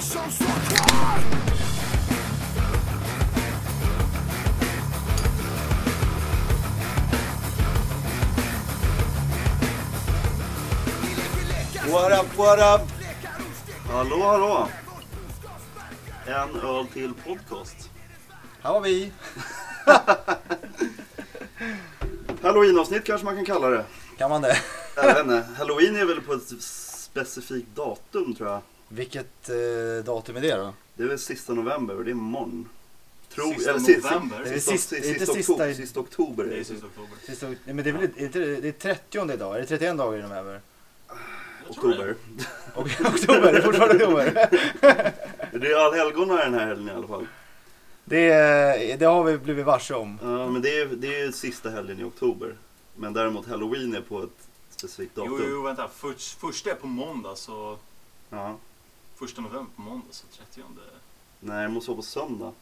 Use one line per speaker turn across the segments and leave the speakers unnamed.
som står kvar!
What up, what up?
Hallå, hallå! En öl till podcast.
Här var vi.
Halloween-avsnitt kanske man kan kalla det.
Kan man det?
Jag vet inte. Halloween är väl på ett specifikt datum tror jag.
Vilket eh, datum är det då?
Det är väl sista november och det är imorgon. Tror,
Sista
si- si-
november?
si-
Det är
sista-
sist-
si-
inte
sista
sista
oktober-
i-
Sista oktober är
Det är
det.
sista oktober.
Sista, nej, men det är väl inte- inte, det är 30 idag? Är det 31 dagar i november?
Jag tror
Oktober.
Och oktober, det är fortfarande oktober.
Det är allhelgona den här helgen i alla fall.
Det, är- det har vi blivit varse om.
Ja, men det är, det är sista helgen i oktober. Men däremot halloween är på ett specifikt
det.
datum.
Jo, jo, vänta. Först, första är på måndag, så...
Ja.
Första november på måndag, så 30...
Nej, det måste vara på söndag.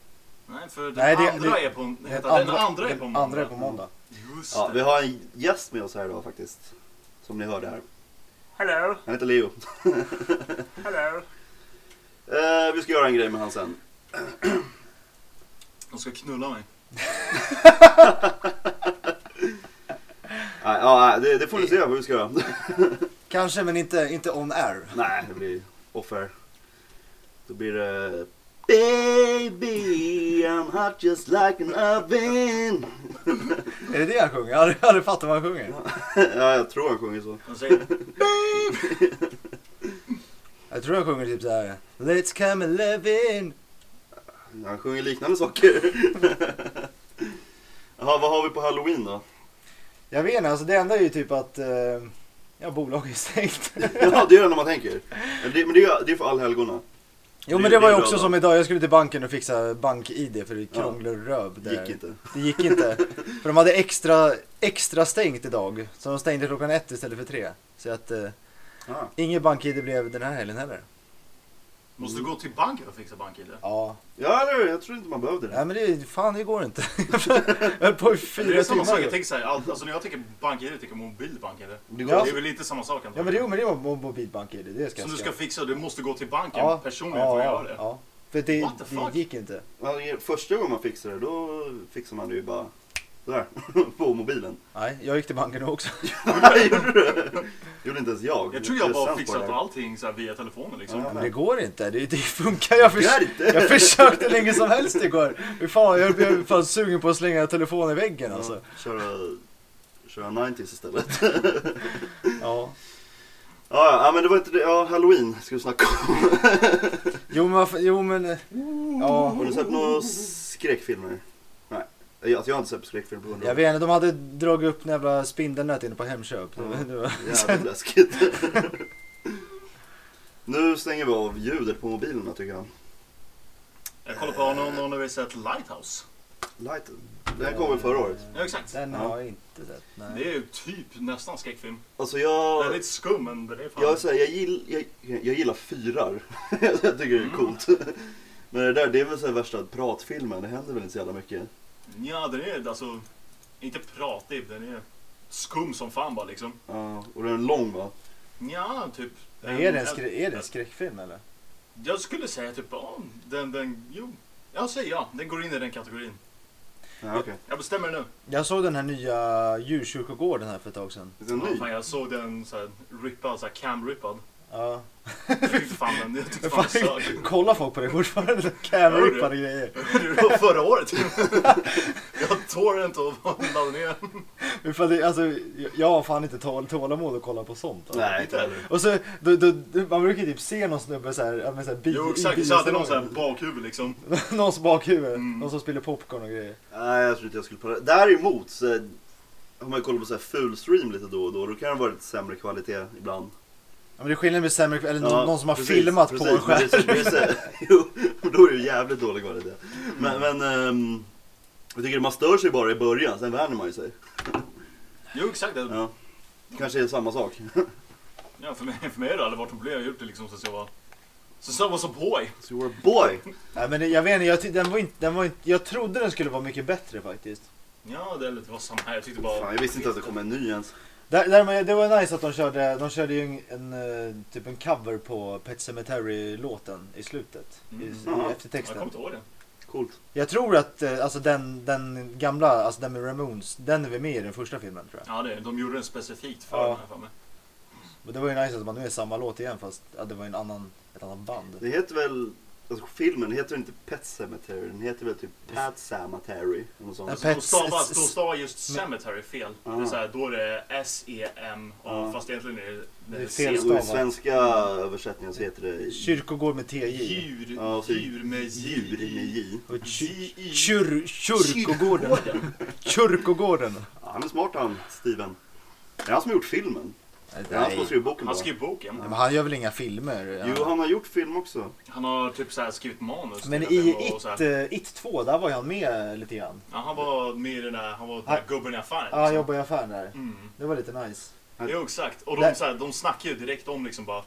Nej, för den
Nej, det-
andra
det-
är på... Nej,
Den
vänta, den andra är på
den
måndag.
andra är på måndag.
Just
Ja, vi
det.
har en gäst med oss här idag faktiskt. Som ni hörde här.
Hello,
Han heter Leo.
hello.
Eh, vi ska göra en grej med han sen.
De ska knulla mig.
Nej, ja, nej, det, det får ni se vad vi ska göra.
Kanske, men inte, inte on air.
Nej, det blir offer. Då blir det... Baby, I'm hot just like an oven.
Är det det han sjunger? Jag har aldrig- aldrig fattat vad han sjunger.
ja, jag tror han sjunger så.
De säger...
Jag tror han sjunger typ såhär. Let's come and live in.
Han sjunger liknande saker. Jaha, vad har vi på halloween då?
Jag vet inte, alltså det enda är ju typ att eh, ja, bolaget är stängt.
Ja, det är det när man tänker. Men det, men det, är, det är för allhelgona.
Jo men
Det-
det var
det
ju
är
också
bra,
som idag, jag skulle till banken och fixa bank-id för det
Ja.
krånglar och röv
Det
där.
gick inte.
Det gick inte. För de hade extra, extra stängt idag. Så de stängde klockan ett istället för tre. Så att eh,
Ah.
inget bank-id blev den här helgen heller.
Måste gå till banken för att fixa bank-id?
Ja,
Ja, eller hur? Jag tror inte man behövde det.
nej men det, fan det går inte. jag höll på i
Eller det
fyra
är samma sak,
timmar.
jag tänker såhär, all- alltså när jag tänker bank-id, jag tänker mobil bank-id.
Det går
Ja.
Det är väl lite samma sak
Ja men det, jo, men det var mo- mobilt bank-id. Det ska
Som
jag
du
säga.
ska fixa, du måste gå till banken personligen för att göra det.
Ja. För det,
What the
det
fuck?
gick inte.
Ja, det är- Alltså, Första gången man fixar det, då fixar man det ju bara sådär, på mobilen.
Nej, jag gick till banken också.
Nej, gjorde du det? gjorde inte ens jag.
Jag tror jag bara
sämst på det
fixat
här.
allting så här via telefonen liksom.
Ja.
Men det går inte, det, det funkar. Jag, förs-
Det går inte.
jag försökte länge som helst igår. Fy Fan, jag blev fan sugen på att slänga telefonen i väggen alltså.
Ja, köra, köra 90s istället.
Mm.
Ja.
ja, ja, men det var inte det. Ja, halloween ska vi snacka om.
Jo men, varför- jo, men eh, ja.
Har du sett några skräckfilmer? Nej, alltså, jag har inte sett skräckfilmer på 100
Jag
år.
vet inte, de hade dragit upp en jävla spindelnät inne på Hemköp.
Ja.
Det var-
Jävligt läskigt. nu stänger vi av ljudet på mobilerna tycker jag.
Jag kollar på honom någon har vi sett Lighthouse.
Light. Det här kom väl förra året?
Ja exakt.
Den
Ja.
har jag inte sett. Nej.
Det är ju typ nästan skräckfilm.
Alltså
Den
jag...
är lite skum men det är fan...
Jag, säger, jag, gill, jag, jag gillar fyrar. jag tycker det är coolt. Men det där det är väl så här värsta pratfilmen, det händer väl inte så jävla mycket.
Ja den är alltså... Inte pratig, den är skum som fan bara liksom.
Ja, och den är lång va?
Ja typ.
Är det, en skrä- är det en skräckfilm eller?
Jag skulle säga typ, ja den, den, jo. Jag säger ja, den går in i den kategorin.
Ja, okej.
Jag bestämmer nu.
Jag såg den här nya djurkyrkogården här för ett tag sedan.
Är den ny?
Fan, jag såg den såhär rippad, såhär cam-rippad.
Ja.
Fy fan den, jag tyckte fan
Fan,
den sög.
kollar folk på det fortfarande?
Gör
Camera
du?
och grejer.
Det var förra året. typ. Jag torrent och laddade ner.
För det, alltså, jag- jag har fan inte tål, tålamod att kolla på sånt. Alltså.
Nej, inte heller.
Och så, då, då, man brukar ju typ se någon snubbe så här, ja, men så här, bil,
Jo
i
exakt, så hade någon såhär
bilsalongen.
bakhuvud liksom.
Någons bakhuvud,
Mm.
någon som spiller popcorn och grejer.
Nej, jag tror inte jag skulle på det. Däremot så eh, har man kollat på så här full stream lite då och då. Då kan det vara lite sämre kvalitet ibland.
Ja, men det är skillnad med sämre, eller
Ja,
någon, någon som har
precis,
filmat på en
precis,
skärm.
men det är så- det är så här- Jo, men då är det ju jävligt dålig kvalitet. Men,
Mm.
men ehm, jag tycker man stör sig bara i början, sen vänjer man ju sig.
Jo exakt, det-
Ja. Det kanske är samma sak.
ja, för, mig, för mig har det aldrig varit problem. Jag har gjort det liksom så jag var... Så jag var som boy.
So you're a boy!
Nej, men det- jag vet inte, jag, ty- den var inte, den var inte, jag trodde den skulle vara mycket bättre faktiskt.
Ja det, eller det var samma här, jag tyckte bara...
Fan, jag visste inte att det kom en ny ens.
Där, där, men det var nice att de körde, de körde ju en, en, eh, typ en cover på Pet Sematary låten i slutet. I,
Mm.
i
Jag kommer
eftertexten.
inte ihåg det.
Coolt.
Jag tror att eh, alltså den, den gamla, alltså den med Ramones, den är väl med i den första filmen tror jag.
Ja, det, de gjorde den specifikt för
Ja.
den här för mig.
Men det var ju nice att man nu är samma låt igen fast ja, det var en annan, ett annat band.
Det heter väl, alltså filmen heter inte Pet Sematary, den heter väl typ Pat Sematary. eller något sånt.
Ja, Pet-
Då stavas, då stavas just Cemetery fel. Det är
Ah.
så här, då är det S-E-M,
Ah.
fast egentligen är det,
Det är
C.
fel
Och I
stav.
svenska översättningen så heter det
Kyrkogård med TJ.
Djur,
Ja, så-
djur med
djur med
J.
J.
Och kyr,
J-I-
kyr, kyrkogården. Kyrkogården.
Ja, han är smart han, Steven. Det är han som har gjort filmen. Det är han som har skrivit boken
Han
bara.
skrev boken.
Men han gör väl inga filmer?
Jo, han har gjort film också.
Han har typ så här skrivit manus.
Men
till den
i
och
It,
så här.
eh, It 2, där var ju han med lite grann.
Ja, han var med i den där, han var den
Ah.
där gubben i affären.
Ja, han
liksom.
jobbar i affären där.
Mm.
Det var lite nice.
Jo, exakt. Och
Där-
de, så här, de snackar ju direkt om liksom bara...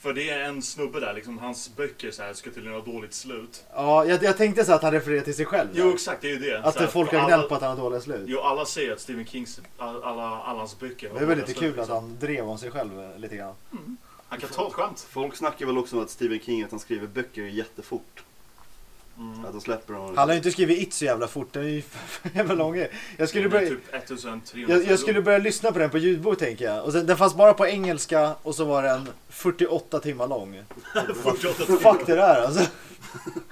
För det är en snubbe där, liksom, hans böcker så här, ska tydligen ha dåligt slut.
Ja, jag, jag tänkte så att han refererade till sig själv. där.
Jo, exakt. Det är ju det.
att
Så här,
det folk
för
har
alla-
gnällt på att han har dåliga slut.
Jo, alla säger att Stephen Kings, all- alla, alla hans böcker har
Det var
dåliga
lite
slut,
kul att
liksom.
han drev om sig själv eh, lite grann.
Han kan ta ett skämt.
Folk snackar väl också om att Stephen King att han skriver böcker jättefort.
Mm.
Att de släpper dem.
Han har ju inte skrivit It så jävla fort, den är ju för jävla lång. Jag skulle
Det är
börja...
typ 1300
Jag, jag skulle börja lyssna på den på ljudbok tänker jag. Och sen, den fanns bara på engelska och så var den 48 timmar lång.
48
Fuck det där alltså.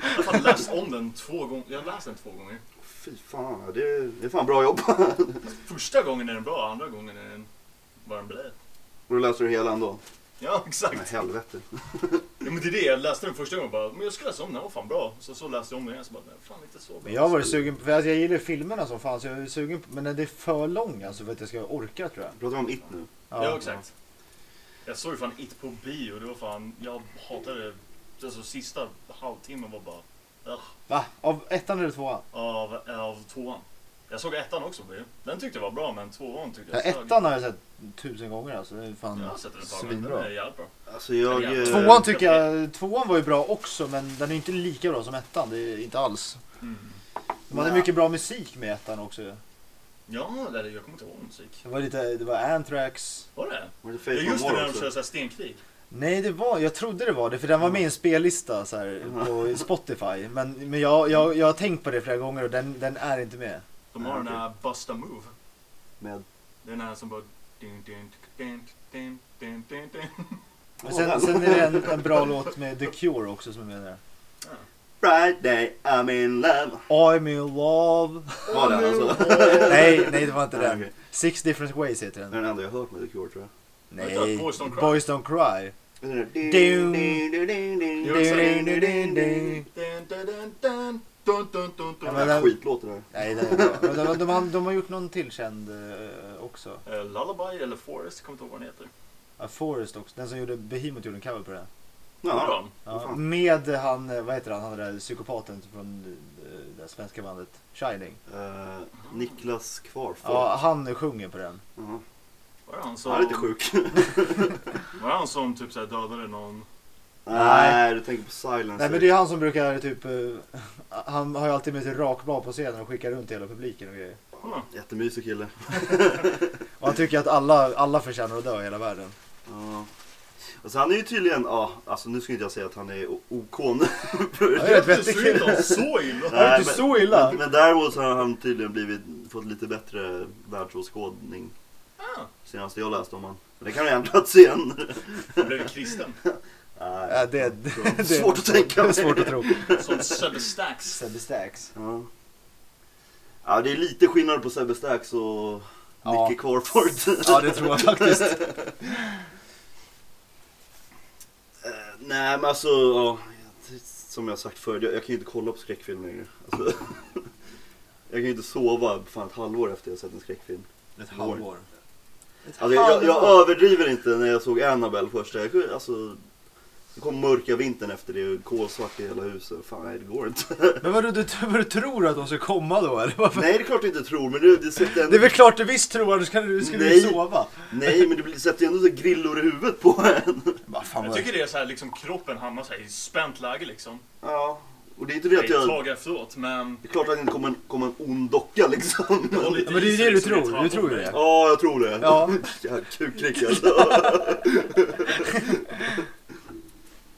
Jag har fan läst om den två gånger. Jag har läst den två gånger.
Fy fan, ja, det är, det är fan bra jobb.
Första gången är den bra, andra gången är den bara en blä.
Och då läser du hela ändå.
Ja,
Nej,
exakt.
helvete.
Ja, men det är det, jag läste den första gången och bara, men jag ska läsa om den, den var fan bra. Så, så läste jag om den igen, så bara, nej, fan inte så bra.
Men jag har varit sugen på, för alltså, jag gillar ju filmerna som fan så jag är sugen på, men det är för lång alltså för att jag ska orka tror jag.
Pratar vi om It nu?
Ja, exakt. Jag såg ju fan It på bio, det var fan, jag hatade det. Alltså sista halvtimmen var bara, ugh,
Va? Av ettan eller tvåan?
av, av tvåan. Jag såg ettan också på bio. Den tyckte jag var bra, men tvåan tyckte
Ja,
jag sög.
ettan har jag sett tusen gånger alltså. Det är
Jag
fan
har sett den ett tag, men den
svinbra.
är jävligt bra.
Alltså jag...
Ja.
eh,
Tvåan tycker jag, tvåan var ju bra också men den är inte lika bra som ettan. Det är inte alls.
Mm.
De hade
Nej.
mycket bra musik med ettan också.
Ja, eller jag kommer inte ihåg musik.
Det var lite, det var Anthrax.
Var det?
Var det
Ja,
Faith
just
No More
det, när de
också?
kör såhär stenkrig.
Nej det var, jag trodde det var det för den var med i en spellista så här, på Spotify. Men, men jag, jag, jag har tänkt på det flera gånger och den, den är inte med.
De
Ja,
har den
okej.
här Busta Move.
Med...
Det är Den här som bara... Din, din, din, din, din, din, din.
Men sen, sen är det en, en bra låt med The Cure också som är med där.
Friday I'm in love.
I'm in love.
Var den alltså?
Nej, nej det var inte
Nej,
den.
okej.
Six different ways heter
Det är
den.
den enda jag har hört med The Cure tror jag.
Nej,
Boys Don't Cry.
Boys Don't Cry.
Den där-
Ding.
Ding, ding, ding, ding,
Jo,
ding,
exakt.
ding, ding, ding, ding.
Dun, dun, dun, dun, dun, dun, dun,
Ja,
Den
dun.
men-
där skitlåten där.
Nej, den är bra. Men de, de, har- de har gjort någon till känd eh, också.
Eh, Lullaby eller Forest, kommer inte ihåg vad den heter.
A Forest också. Den som gjorde Behemoth gjorde en cover på den.
Ja.
Bra.
Vad
Ja,
fan.
med han, eh, vad heter han, han den där psykopaten från eh, det där svenska bandet Shining.
Eh, Niklas Kvarfors.
Ja, han sjunger på den.
Ja.
Var det han som...
Han är lite sjuk.
Var det han som typ såhär dödade någon?
Nej, du tänker på Silencer.
Nej men det är han som brukar typ, eh, han har ju alltid med sig rakblad på scenen och skickar runt till hela publiken och grejer.
Huh.
Jättemysig kille.
Och han tycker att alla, alla förtjänar att dö i hela världen.
Ja. Alltså han är ju tydligen, ja, alltså nu ska inte jag säga att han är o- OK nu.
Ja, jag vet
Det
inte.
ser inte om så illa.
Det är
Nej,
inte så illa.
Men, men däremot så har han tydligen blivit, fått lite bättre världsåskådning
Ah,
senast jag läste om han. Men det kan ha ändrats igen.
Han blev kristen.
Nej.
Ja, det, det, det,
Svårt att tänka
det är
mig.
svårt att tro.
Som Sebbe Stax.
Sebbe Stax.
Ja. ja, det är lite skillnad på Sebbe Stax och
Ja.
Nicky Crawford.
Ja det tror jag faktiskt.
Eh, nej men alltså, ja, som jag sagt förut, jag, jag kan ju inte kolla på skräckfilm längre. Alltså, jag kan ju inte sova fan ett halvår efter jag sett en skräckfilm.
Ett
halvår. Alltså, jag, jag, jag överdriver inte när jag såg Annabelle första. Jag, kunde- alltså, det kom mörka vintern efter det och kolsvart i hela huset. Fan nej, det går inte.
Men vadå, du, vadå, tror du att de ska komma då eller? Varför?
nej det är klart jag inte tror men det, det sätter
Det är
ändå,
väl klart du visst tror att du ska, du ska
Nej.
ju sova.
nej, men det blir- sätter ju ändå så grillor i huvudet på en.
Vad fan
Jag tycker det är såhär liksom kroppen hamnar såhär i spänt läge liksom.
Ja, Och det är inte det att
Nej,
jag...
Ett tag efteråt, men...
Det är klart att det inte kommer en, kommer en ond docka liksom.
Det var lite
Ja, men det är ju
is i
det du
som jag
tror. Du
trampade
tror ju
på.
det.
Ja, jag tror det.
Ja.
Jävla kukrick alltså.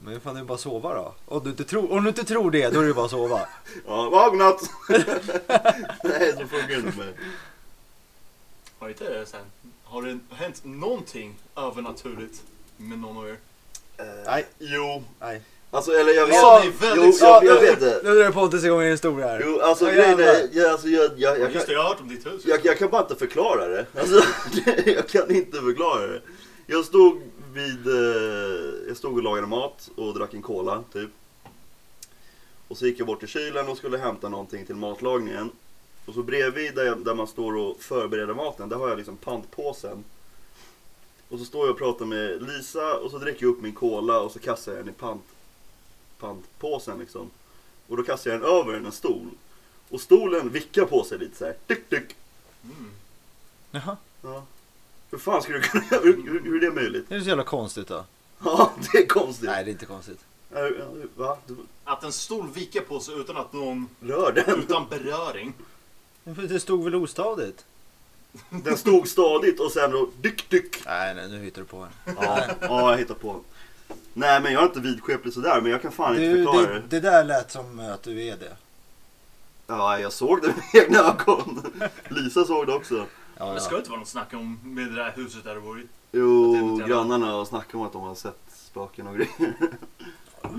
Men fan det är bara att sova då. Om du inte tror, om du inte tror det, då är det bara att sova.
Ja, vagnat! Nej, så funkar det inte med mig.
Har inte sen. Har det hänt någonting övernaturligt med någon av er?
Eh,
Nej.
Jo.
Nej.
Alltså, eller jag vet
Ja, det är
Jo,
väldigt
jag,
Ja,
jag
nu-
vet det.
Nu drar Pontus igång en historia här.
Jo, alltså
Ja,
grejen är...
jävlar.
Jag, alltså, jag, jag, jag,
Just det,
jag,
jag har hört om ditt hus.
jag, jag kan bara inte förklara det. Alltså, jag kan inte förklara det. Jag stod vid... eh, Jag stod och lagade mat och drack en cola, typ. Och så gick jag bort till kylen och skulle hämta någonting till matlagningen. Och så bredvid där, jag, där man står och förbereder maten, där har jag liksom pantpåsen. Och så står jag och pratar med Lisa och så dricker jag upp min cola och så kastar jag den i pant, pantpåsen liksom. Och då kastar jag den över en stol. Och stolen vickar på sig lite så här. Tyck, tyck.
Mm.
Jaha.
Ja. Hur fan skulle du kunna hur, hur, hur är det möjligt?
Det är så jävla konstigt då.
Ja, det är konstigt.
Nej det är inte konstigt.
Ja, ja, Va? Du
Att en stol viker på sig utan att någon...
rör den.
Utan beröring.
Men för Det stod väl ostadigt?
Den stod stadigt och sen då dyck, dyck.
Nej, nej nu hittar du på en.
Ja, ja, jag hittar på. Nej, men jag är inte vidskeplig sådär, men jag kan fan inte
Du,
förklara
det,
det.
det där lät som att du är det.
Ja, jag såg det med egna ögon. Lisa såg det också.
Ja,
Det
ja.
ska inte vara något snack om med det där huset där du bor i. Det är
Jo,
något jävla-
grannarna har snackat om att de har sett spöken och grejer. Ja,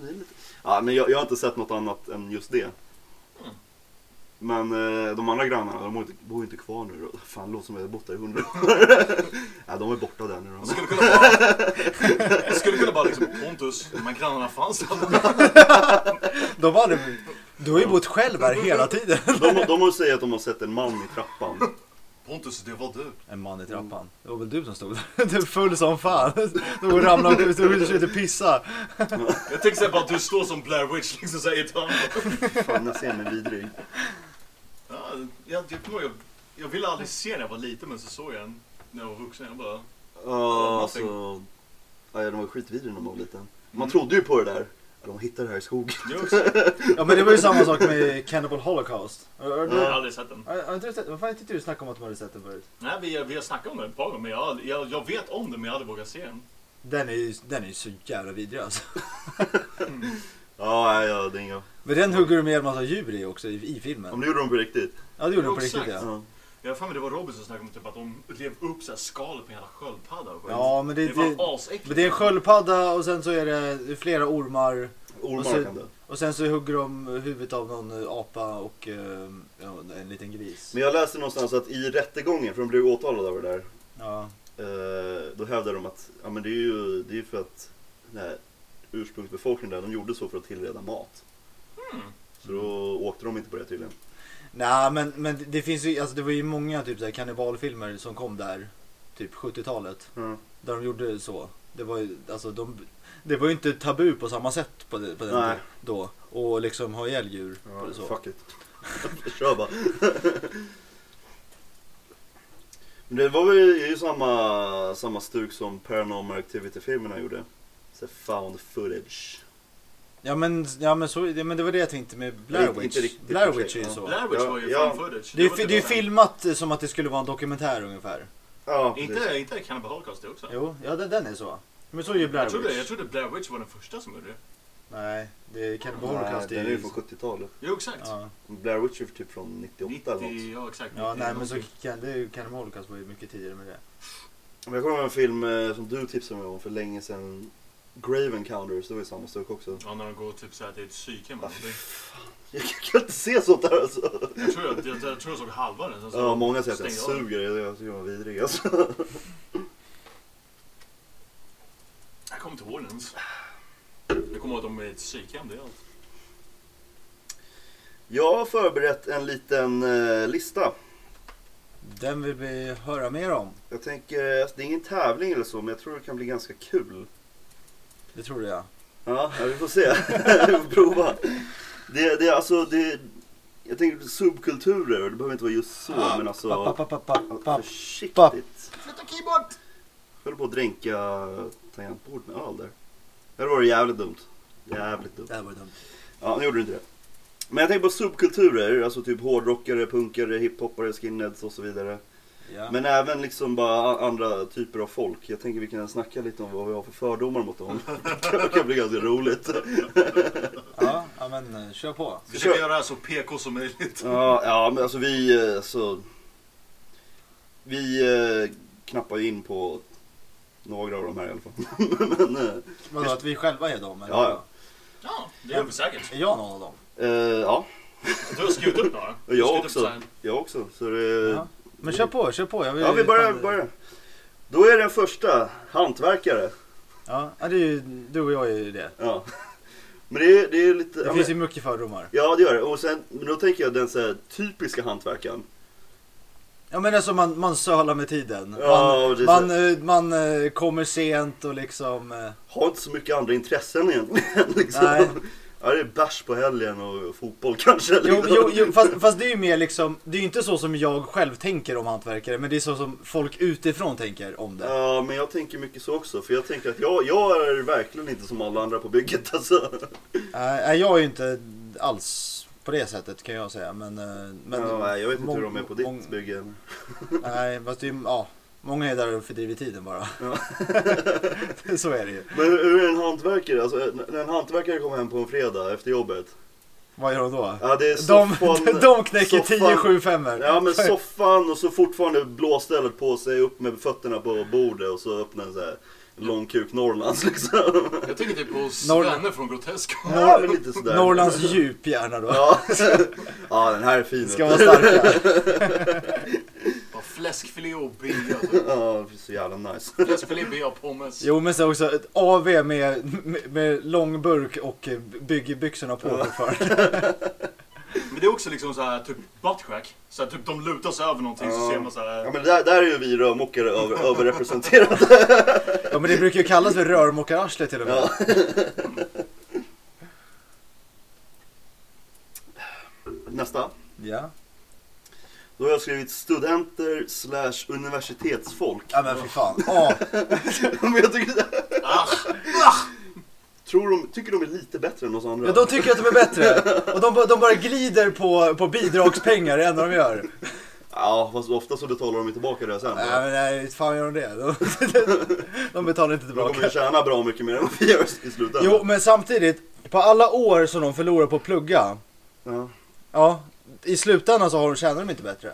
det är lite... ja, men jag, jag har inte sett något annat än just det. Men eh, de andra grannarna, de bor inte, bor inte kvar nu. Då. Fan, det låter som att jag har bott där i hundra år. ja, de är borta där nu.
Man
Då.
skulle kunna bara... Man skulle kunna bara liksom... Pontus, de här grannarna fanns där.
De var aldrig, du har ju bott själv här hela tiden.
De, de har säger att de har sett en man i trappan.
Pontus, det var du.
En man i trappan. Det var väl du som stod där? Du är full som fan. Du ramlade ut och försökte pissa.
Jag tänkte säga bara att du står som Blair Witch liksom såhär i ett hörn.
Fan, jag ser mig vidrig.
Ja, jag, jag, kommer ihåg, jag, jag ville aldrig se den när jag var liten men så såg jag den när jag var vuxen. Jag bara...
Ja, alltså. Ja, de var skitvidriga när man var liten. Man trodde ju på det där. Ja, de hittade det här i skogen.
Jag har också-
Ja men det var ju samma sak med Cannibal Holocaust. Har- har
jag har
du-
aldrig sett den.
har- har inte du sett- Vad fan tyckte du snackade om att de hade sett den förut?
Nej, vi, vi har snackat om den ett par gånger men jag, har aldrig- jag, jag vet om den men jag har aldrig vågat se den.
Den är ju den är ju så jävla vidrig alltså.
Ja, ja, ja, det är inga...
Men den hugger de med en massa djur i också i, i
Om
filmen.
det gjorde de på riktigt.
Ja det gjorde de på
Jo,
riktigt
exakt.
ja.
Ja.
Jag har för mig det var Robin som snackade om typ att de rev upp så här skalet på hela sköldpadda. och skit.
Ja men det,
det
det,
var asäckligt.
men det är en sköldpadda och sen så är det flera ormar. Och
Ormar
så-
kan dö.
Och sen så hugger de huvudet av någon apa och eh, ja, en liten gris.
Men jag läste någonstans att i rättegången, för de blev åtalade över det där.
Ja.
eh, Då hävdade de att, ja men det är ju, det är ju för att den här ursprungsbefolkningen där, de gjorde så för att tillreda mat. Så då åkte de inte på det tydligen.
Nej men, men det- det finns ju, alltså det var ju många typ så här kannibalfilmer som kom där. Typ 70-talet.
Ja.
Där de gjorde så. Det var ju, alltså de, det var ju inte tabu på samma sätt på, det- på den
Nej.
tiden då. Och liksom ha ihjäl djur.
Ja,
och så.
fuck it. Kör bara. Men det var väl det är ju samma, samma stuk som Paranormal Activity-filmerna gjorde. Så här found footage.
Ja men, ja, men, så, det- men det var det jag tänkte med
Det är
Blair
inte
Witch.
riktigt
Blair
för sig,
Witch är ju
ja.
så.
Blair Witch
Ja,
var ju
ja.
fan footage.
Det är,
var
fi-
typ
det är
den.
filmat som att det skulle vara en dokumentär ungefär.
Ja, precis.
Inte, inte Cannibal Holocaust det också.
Jo, ja den, den är så. Men så är ju Blair
Jag trodde, jag
Witch.
trodde Blair Witch var den första som gjorde det.
Nej, det kan
Nej,
vara
den är ju från 70-talet.
Jo exakt.
Ja,
Blair Witch är typ från 98 eller något.
90, ja exakt.
ja
90,
nej men så
någonting.
kan det är ju Cannibal Holocaust var ju mycket tidigare med det.
Men jag kommer ihåg en film eh, som du tipsade mig om för länge sedan. Grave Encounters, det var ju samma stuk också.
Ja när de går typ såhär till ett psykhem eller någonting.
Jag kan inte se sånt där alltså.
Jag tror jag, jag, jag, tror jag såg halva den. sen så
Ja, många säger att den
stängde jag av.
suger, jag tycker den var vidrig alltså.
Jag kommer inte ihåg den ens. Jag kommer ihåg att de är i ett psykhem, det är allt.
Jag har förberett en liten eh, lista.
Den vill vi höra mer om.
Jag tänker, alltså, det är ingen tävling eller så, men jag tror det kan bli ganska kul.
Det tror jag.
Ja, ja, vi får se. vi får prova. Det, det är alltså, det, jag tänker subkulturer, och det behöver inte vara just så,
Ah,
men alltså...
Papp, papp, papp, papp.
Försiktigt.
Flytta keyboard!
Jag höll på att dränka tangentbord med öl där. Det hade varit jävligt dumt. Jävligt dumt.
Det här var dumt.
Ja, nu gjorde du inte det. Men jag tänker på subkulturer, alltså typ hårdrockare, punkare, hiphoppare, skinheads och så vidare.
Ja.
Men även liksom bara a- andra typer av folk. Jag tänker vi kan snacka lite om vad vi har för fördomar mot dem. Det kan- kan bli ganska roligt.
ja, ja, men eh, kör på.
Försöker göra det här så PK som möjligt.
Ja, ja men alltså vi, eh, så, vi eh, knappar ju in på några av de här i alla fall. men, eh,
Vadå, att vi själva är dem? eller?
Ja, ja.
Ja, det gör vi säkert.
Är jag någon av dem?
eh, ja,
Jag tror jag har skrivit upp några.
och
Skrivit
jag
upp så
också.
här.
Jag också. Så det,
Ja. Men kör på, kör på. Jag vill,
Ja, vi börjar, börjar. Då är den första, hantverkare.
Ja, ja, det är ju, du och jag är ju det.
Ja. Men det är, det är lite...
Det
ja,
finns ju
men,
mycket fördomar.
ja, det gör det. Och sen, men då tänker jag den så här, typiska hantverkaren.
Ja men alltså man, man sölar med tiden.
Ja,
man,
precis.
man, eh, man eh, kommer sent och liksom... eh,
Har inte så mycket andra intressen egentligen. Liksom.
Nej.
Ja, det är bärs på helgen och fotboll kanske.
Jo,
liksom.
jo, jo fast, fast det är ju mer liksom, det är ju inte så som jag själv tänker om hantverkare men det är så som folk utifrån tänker om det.
Ja, men jag tänker mycket så också. För jag tänker att jag, jag är verkligen inte som alla andra på bygget alltså.
Äh, jag är ju inte alls på det sättet kan jag säga men... eh, men
ja, nej, jag vet inte
mång-
hur de är på ditt
mång-
bygge.
Nej, fast det är, ju- ja, många är där och fördriver tiden bara.
Ja.
så är det ju.
Men hur är en hantverkare? Alltså, när en hantverkare kommer hem på en fredag efter jobbet.
Vad gör de då?
Ja, det är
De,
soffan,
de knäcker
soffan-
10 7 5
Ja men soffan och så fortfarande blåstället på sig, upp med fötterna på bordet och så öppnar en så här lång kuk Norrlands liksom.
Jag tänker typ på
Norr-
Svenne från Grotesco.
Ja, men lite sådär.
Norrlands djup gärna då.
Ja. ja den här är fin.
Ska vara starka.
Bara Fläskfilé och bea.
typ.
Ja, så jävla nice.
Fläskfilé, bea, pommes.
Jo men så också ett AV med, med, med lång burk och eh, byggbyxorna på fortfarande.
Men det är också liksom så här typ buttcrack. Så här, typ de lutar sig över någonting så
Ja.
ser man så här.
Ja men där, där är ju vi rörmokare över, överrepresenterade.
Ja men det brukar ju kallas för rörmokararsle till och med.
Ja. Nästa.
Ja.
Då har jag skrivit studenter slash universitetsfolk.
Ja men fy fan. Åh,
Men jag tycker,
Ah,
tror de, tycker de är lite bättre än oss andra.
ja, de tycker att de är bättre. Och de, bara- de bara glider på, på bidragspengar, det enda de gör.
Ja, fast ofta så betalar de ju tillbaka det sen.
Nej men nej, inte fan gör de det? De, de betalar inte
De kommer ju
tillbaka.
tjäna bra mycket mer än vad vi gör i slutändan.
Jo men samtidigt, på alla år som de förlorar på att plugga,
Ja.
ja, i slutändan så har de, tjänar de inte bättre.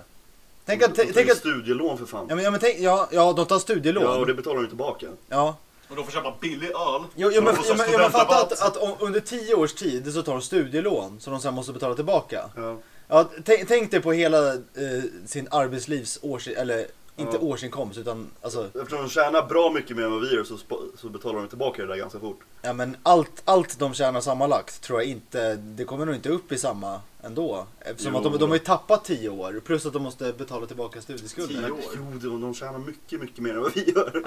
Tänk att,
De tar
tänk
ju
att
studielån för fan.
Ja, men, ja, men tänk, ja, ja, de tar
Ja, och
studielån.
det betalar de ju tillbaka.
Ja.
och de får köpa billig öl.
Jo, jo,
Så de
men,
får så
jo,
här
men, jo, men fatta
studentrabatt.
att, att om, under tio års tid så tar de studielån som de sen måste betala tillbaka.
Ja.
Ja, tänk, tänk dig på hela eh, sin arbetslivs års, eller inte
Ja.
årsinkomst utan alltså,
Eftersom de tjänar bra mycket mer än vad vi gör så, spa- så betalar de tillbaka det där ganska fort.
ja men allt, allt de tjänar sammanlagt tror jag inte, det kommer nog inte upp i samma ändå. Eftersom
Jo.
att de, de har ju tappat tio år plus att de måste betala tillbaka studieskulden.
Tio
Nej,
år?
Jo, de, de tjänar mycket, mycket mer än vad vi gör.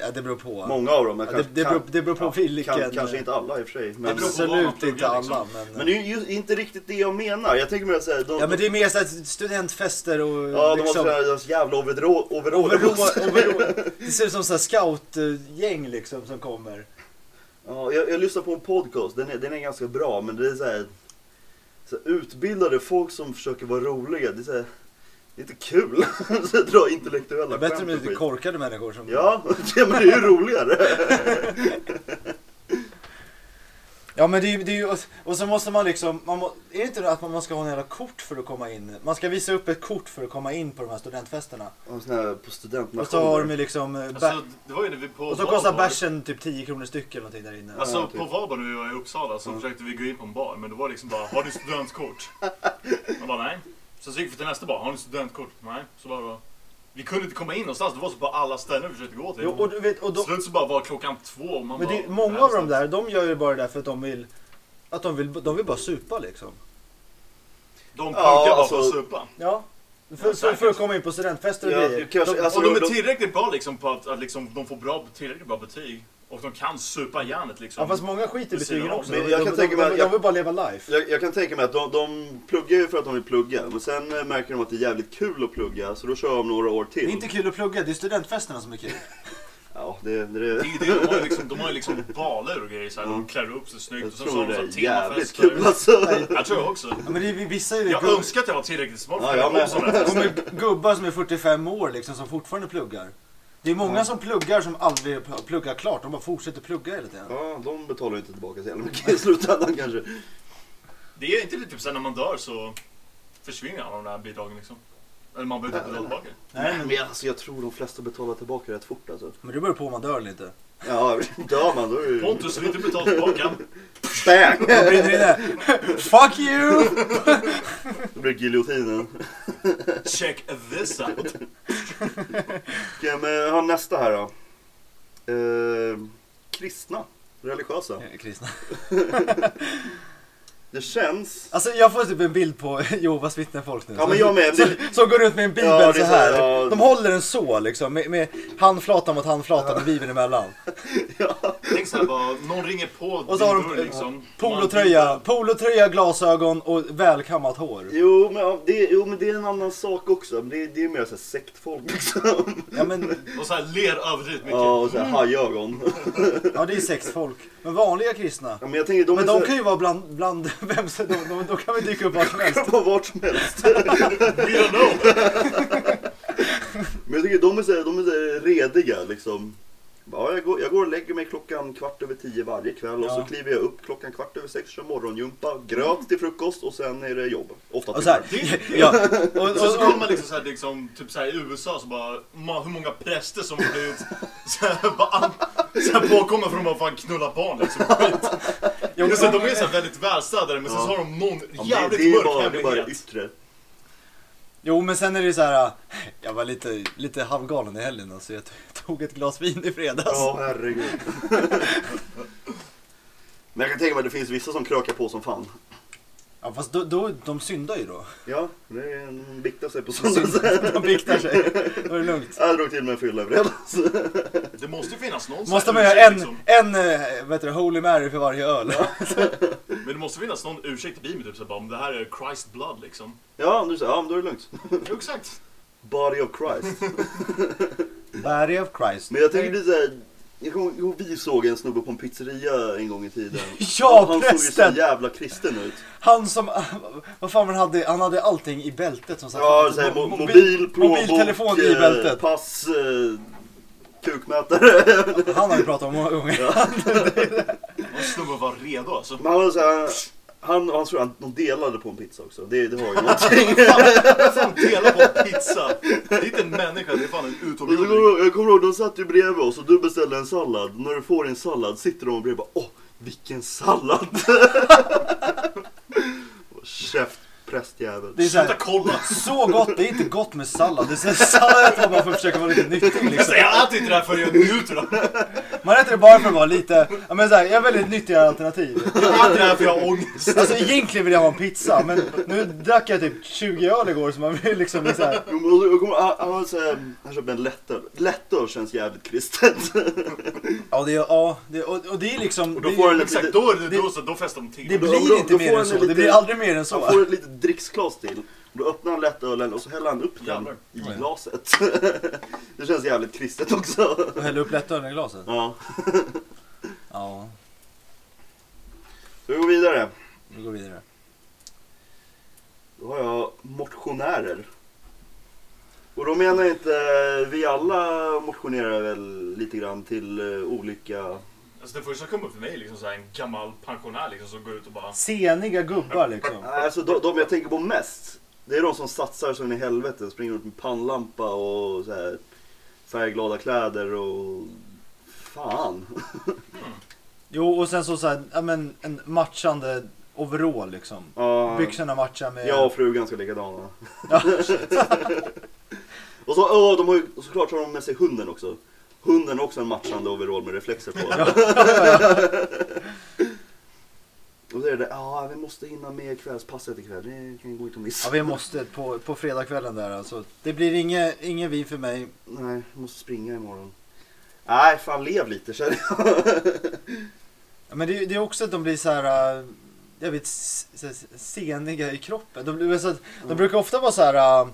ja, det beror på.
Många av dem. men
Ja, det,
kanske-
det, beror, det beror på
kan-
vilken.
Kan, kanske inte alla i och för sig. Men,
beror på vad man
Absolut inte
pluggar, liksom.
alla. Men,
men det är ju inte riktigt det jag menar. Jag tänker mer såhär, de,
Ja men det är mer såhär studentfester och
ja, de har
liksom,
sådana här jävla overall- overall.
overall, overall, Det ser ut som såhär scoutgäng liksom som kommer.
Ja, jag, jag lyssnar på en podcast, den är, den är ganska bra, men det är så här, så här utbildade folk som försöker vara roliga. Det är, så här, det är inte kul. så jag drar
Det
intellektuella
är bättre
och
med lite
skit.
korkade människor som...
Ja, ja, men det är ju roligare.
Ja men det är ju, det är ju och, och så måste man liksom, man må, är det inte det att man ska ha en jävla kort för att komma in? Man ska visa upp ett kort för att komma in på de här studentfesterna.
Och sån här på
Och så har de
studentnationer.
ju liksom, eh, bä-
Alltså, det var ju när vi på
och så kostar
Valborg-
bärsen typ 10 kronor styck eller någonting där inne.
Alltså
Ja, typ.
på Valborg när vi var i Uppsala så försökte vi gå in på en bar men det var liksom bara Har du studentkort? Man bara nej. Sen så gick vi till nästa bar. Har ni studentkort? Nej. Så bara Vi kunde inte komma in någonstans. Det var så på alla ställen vi försökte gå till.
Jo, och du vet, och
Till
då,
Slut så bara var klockan två och man
men det,
bara,
är- många
"Nej,
av de där, de gör ju bara det där för att de vill, att de vill, de vill bara supa liksom.
De
Ja,
punkar bara
alltså-
för att supa.
Ja. För,
Ja,
för,
säkert.
för att komma in på studentfester och
Ja,
grejer.
du kanske-
De-
alltså,
och de
de-
är tillräckligt bra liksom på att, att liksom, de får bra, tillräckligt bra betyg. Och de kan supa järnet liksom.
Ja fast många skiter i
Precis,
betygen
ja.
också.
Men
De-
jag
de,
kan
de,
tänka mig
de,
att
de
jag-
vill bara leva life.
Jag, jag kan tänka mig att de, de pluggar ju för att de vill plugga, men sen eh, märker de att det är jävligt kul att plugga, så då kör de några år till.
kul att plugga, det är studentfesterna som är kul.
Ja, Ja, det... det,
Det är ju det, de har ju liksom, de har ju liksom baler och grejer så här. De klär upp sig
Mm.
snyggt
jag
och sen så
tror
har de
det
så här
är jävligt
temafester.
kul alltså.
Jag tror jag också.
Ja, men det är, vissa är ju
Jag
gub-
önskar att jag var tillräckligt smart
Ja,
för
jag
att
med.
jag sådana här
de
tester.
är gubbar som är 45 år liksom som fortfarande pluggar. Det är många som pluggar som aldrig pl- pluggar klart. De bara fortsätter plugga hela tiden.
Ja, de betalar ju inte tillbaka så jävla mycket i slutändan kanske.
Det är inte det typ såhär när man dör så försvinner alla de där bidragen liksom. Eller man behöver inte betala tillbaka.
Nej, men,
Men alltså, jag tror de flesta betalar tillbaka rätt fort alltså.
men det beror på om man dör eller inte.
Ja, dör man då är det ju...
Pontus vill inte betala tillbaka.
Bang!
Då brinner det inne. Fuck you!
Då blir det giljotinen.
Check this out.
Okej, men jag har nästa här då. Eh, kristna. Religiösa.
Kristna.
Det känns...
Alltså jag får typ en bild på Jehovas vittnen-folk nu.
Ja, men jag med. Det-
Som går runt med en bibel
Ja, det är
så
så
här.
här, ja.
De håller den så liksom, med, med handflatan mot handflatan med bibeln emellan.
Tänk såhär bara, någon ringer på liksom.
Och så har de eh, polotröja, polotröja, glasögon och välkammat hår.
Jo men, ja, det, jo, men det är en annan sak också. Men Det, det är mer så här sektfolk liksom.
Ja, men,
Och såhär ler överdrivet mycket.
Ja, och så här hajögon.
ja det är sexfolk. Men vanliga kristna.
Ja, men jag tänker, de
Men
är så
de
här-
kan ju vara bland, bland vem som, de, de, de kan väl dyka upp var som helst.
kan vara vart som helst.
We don't know.
Men jag tycker de är så här, de är så här rediga liksom. Ja, jag, går, jag går och lägger mig klockan kvart över tio varje kväll och
Ja.
så kliver jag upp klockan kvart över sex, kör morgongympa, gröt till frukost och sen är det jobb. Åtta
Och så här,
timmar.
ja, och,
Och så
och,
kollar man
och,
liksom såhär liksom, typ såhär i USA så bara, ma, hur många präster som blivit såhär bara an- såhär påkomna för att de bara fan knulla barn liksom. Skit.
jo,
Just det, de är såhär väldigt välstädade men sen så har de någon
Ja, men det-
jävligt
det är ju
mörk
bara, det är bara det
hemlighet.
yttre.
jo men sen är det ju så här. äh, jag var lite, lite halvgalen i helgen alltså. Jag tog ett glas vin i fredags.
Ja, herregud. Men jag kan tänka mig att det finns vissa som krökar på som fan.
Ja fast då, då, de syndar ju då.
Ja, det är en biktar sig på
De,
sådana sätt.
syndar, de biktar sig. Då är det lugnt.
Jag drog till med en fylla i fredags.
Det måste ju finnas någon sån
Måste
här
man göra
ursäkt, liksom.
Liksom.
en, en eh, vad heter det, Holy Mary för varje öl?
Men det måste finnas någon ursäkt i Bibeln typ såhär bara, om det här är Christ blood liksom.
Ja, du säger, ja men då är det lugnt.
Jo, exakt.
Body of Christ.
Body of Christ.
Men jag tänker det är såhär, jag kommer ihåg vi såg en snubbe på en pizzeria en gång i tiden.
Ja,
Han såg ju så
prästen!
jävla kristen ut.
Han som, vad fan man hade, han hade allting i bältet som sagt.
Ja, såhär, mo- mobil, plånbok,
mobiltelefon i
eh,
bältet.
pass, eh, kukmätare.
Han har vi pratat om många gånger.
Någon snubbe var redo alltså.
Men han var såhär, han, han tror att de delade på en pizza också. Det, det har ju någonting.
Vad fan delar på en pizza? Det är inte en människa, det är fan en
Men jag
utomjording.
kommer, jag kommer ihåg, de satt ju bredvid oss och du beställde en sallad. När du får din sallad sitter de bredvid och bara åh, vilken sallad! Och Käft prästjävel.
Det är så,
Sluta
här,
kolla!
så gott, det är inte gott med sallad. Det är så här, sallad äter man bara för att försöka vara lite nyttig
Jag
liksom.
säger, jag äter inte det här förrän jag njuter av det.
Man äter det bara för att vara lite, ja men såhär, jag är väldigt nyttiga alternativ.
Jag äter det här för jag har ångest.
Alltså egentligen vill jag ha en pizza, men nu drack jag typ 20 öl igår så man vill liksom bli såhär,
Jo, men jag kommer- Han han var så här- han köpte en lättöl. Lättöl känns jävligt kristet.
ja det är, ja, det, och, och det är liksom,
då
det,
får den lite-
Exakt, då, är det, då, så- då festar de
det
till.
då-
blir
då-
inte
då
mer
får
än
den
så.
lite-
Det blir aldrig mer än så.
Han får ett litet dricksglas till. Då öppnar han lättölen och så häller han upp den
Jävlar.
i
Oj.
glaset. Det känns jävligt kristet också.
Och hälla upp lättölen i glaset?
Ja,
Ja,
så vi går vidare.
vi går vidare.
Då har jag motionärer. Och då menar jag inte, vi alla motionerar väl lite grann till eh, olika...
Alltså det första som kommer upp för mig är liksom så här en gammal pensionär liksom som går ut och bara...
Seniga gubbar liksom.
Alltså de, de jag tänker på mest, det är de som satsar som i helvete. Springer runt med pannlampa och så här, färgglada kläder och... Fan.
Jo, och sen så såhär, ja men en matchande overall liksom.
Ja,
Byxorna matchar med...
jag och frugan ska likadana.
Ja.
Och så, åh, de har ju, och såklart har de med sig hunden också. Hunden har också en matchande overall med reflexer på. Och så är det ja vi måste hinna med kvällspasset ikväll. Det kan ju gå inte att
Ja,
missa.
vi måste på, på fredagskvällen där alltså. Det blir inge, ingen vin för mig.
Nej, vi måste springa imorgon. Nej, fan lev lite känner jag.
Ja, Men det, det är också att de blir så här. äh, jag vet, s- s- seniga i kroppen. Mm. De, blir så att, de brukar ofta vara så här. äh,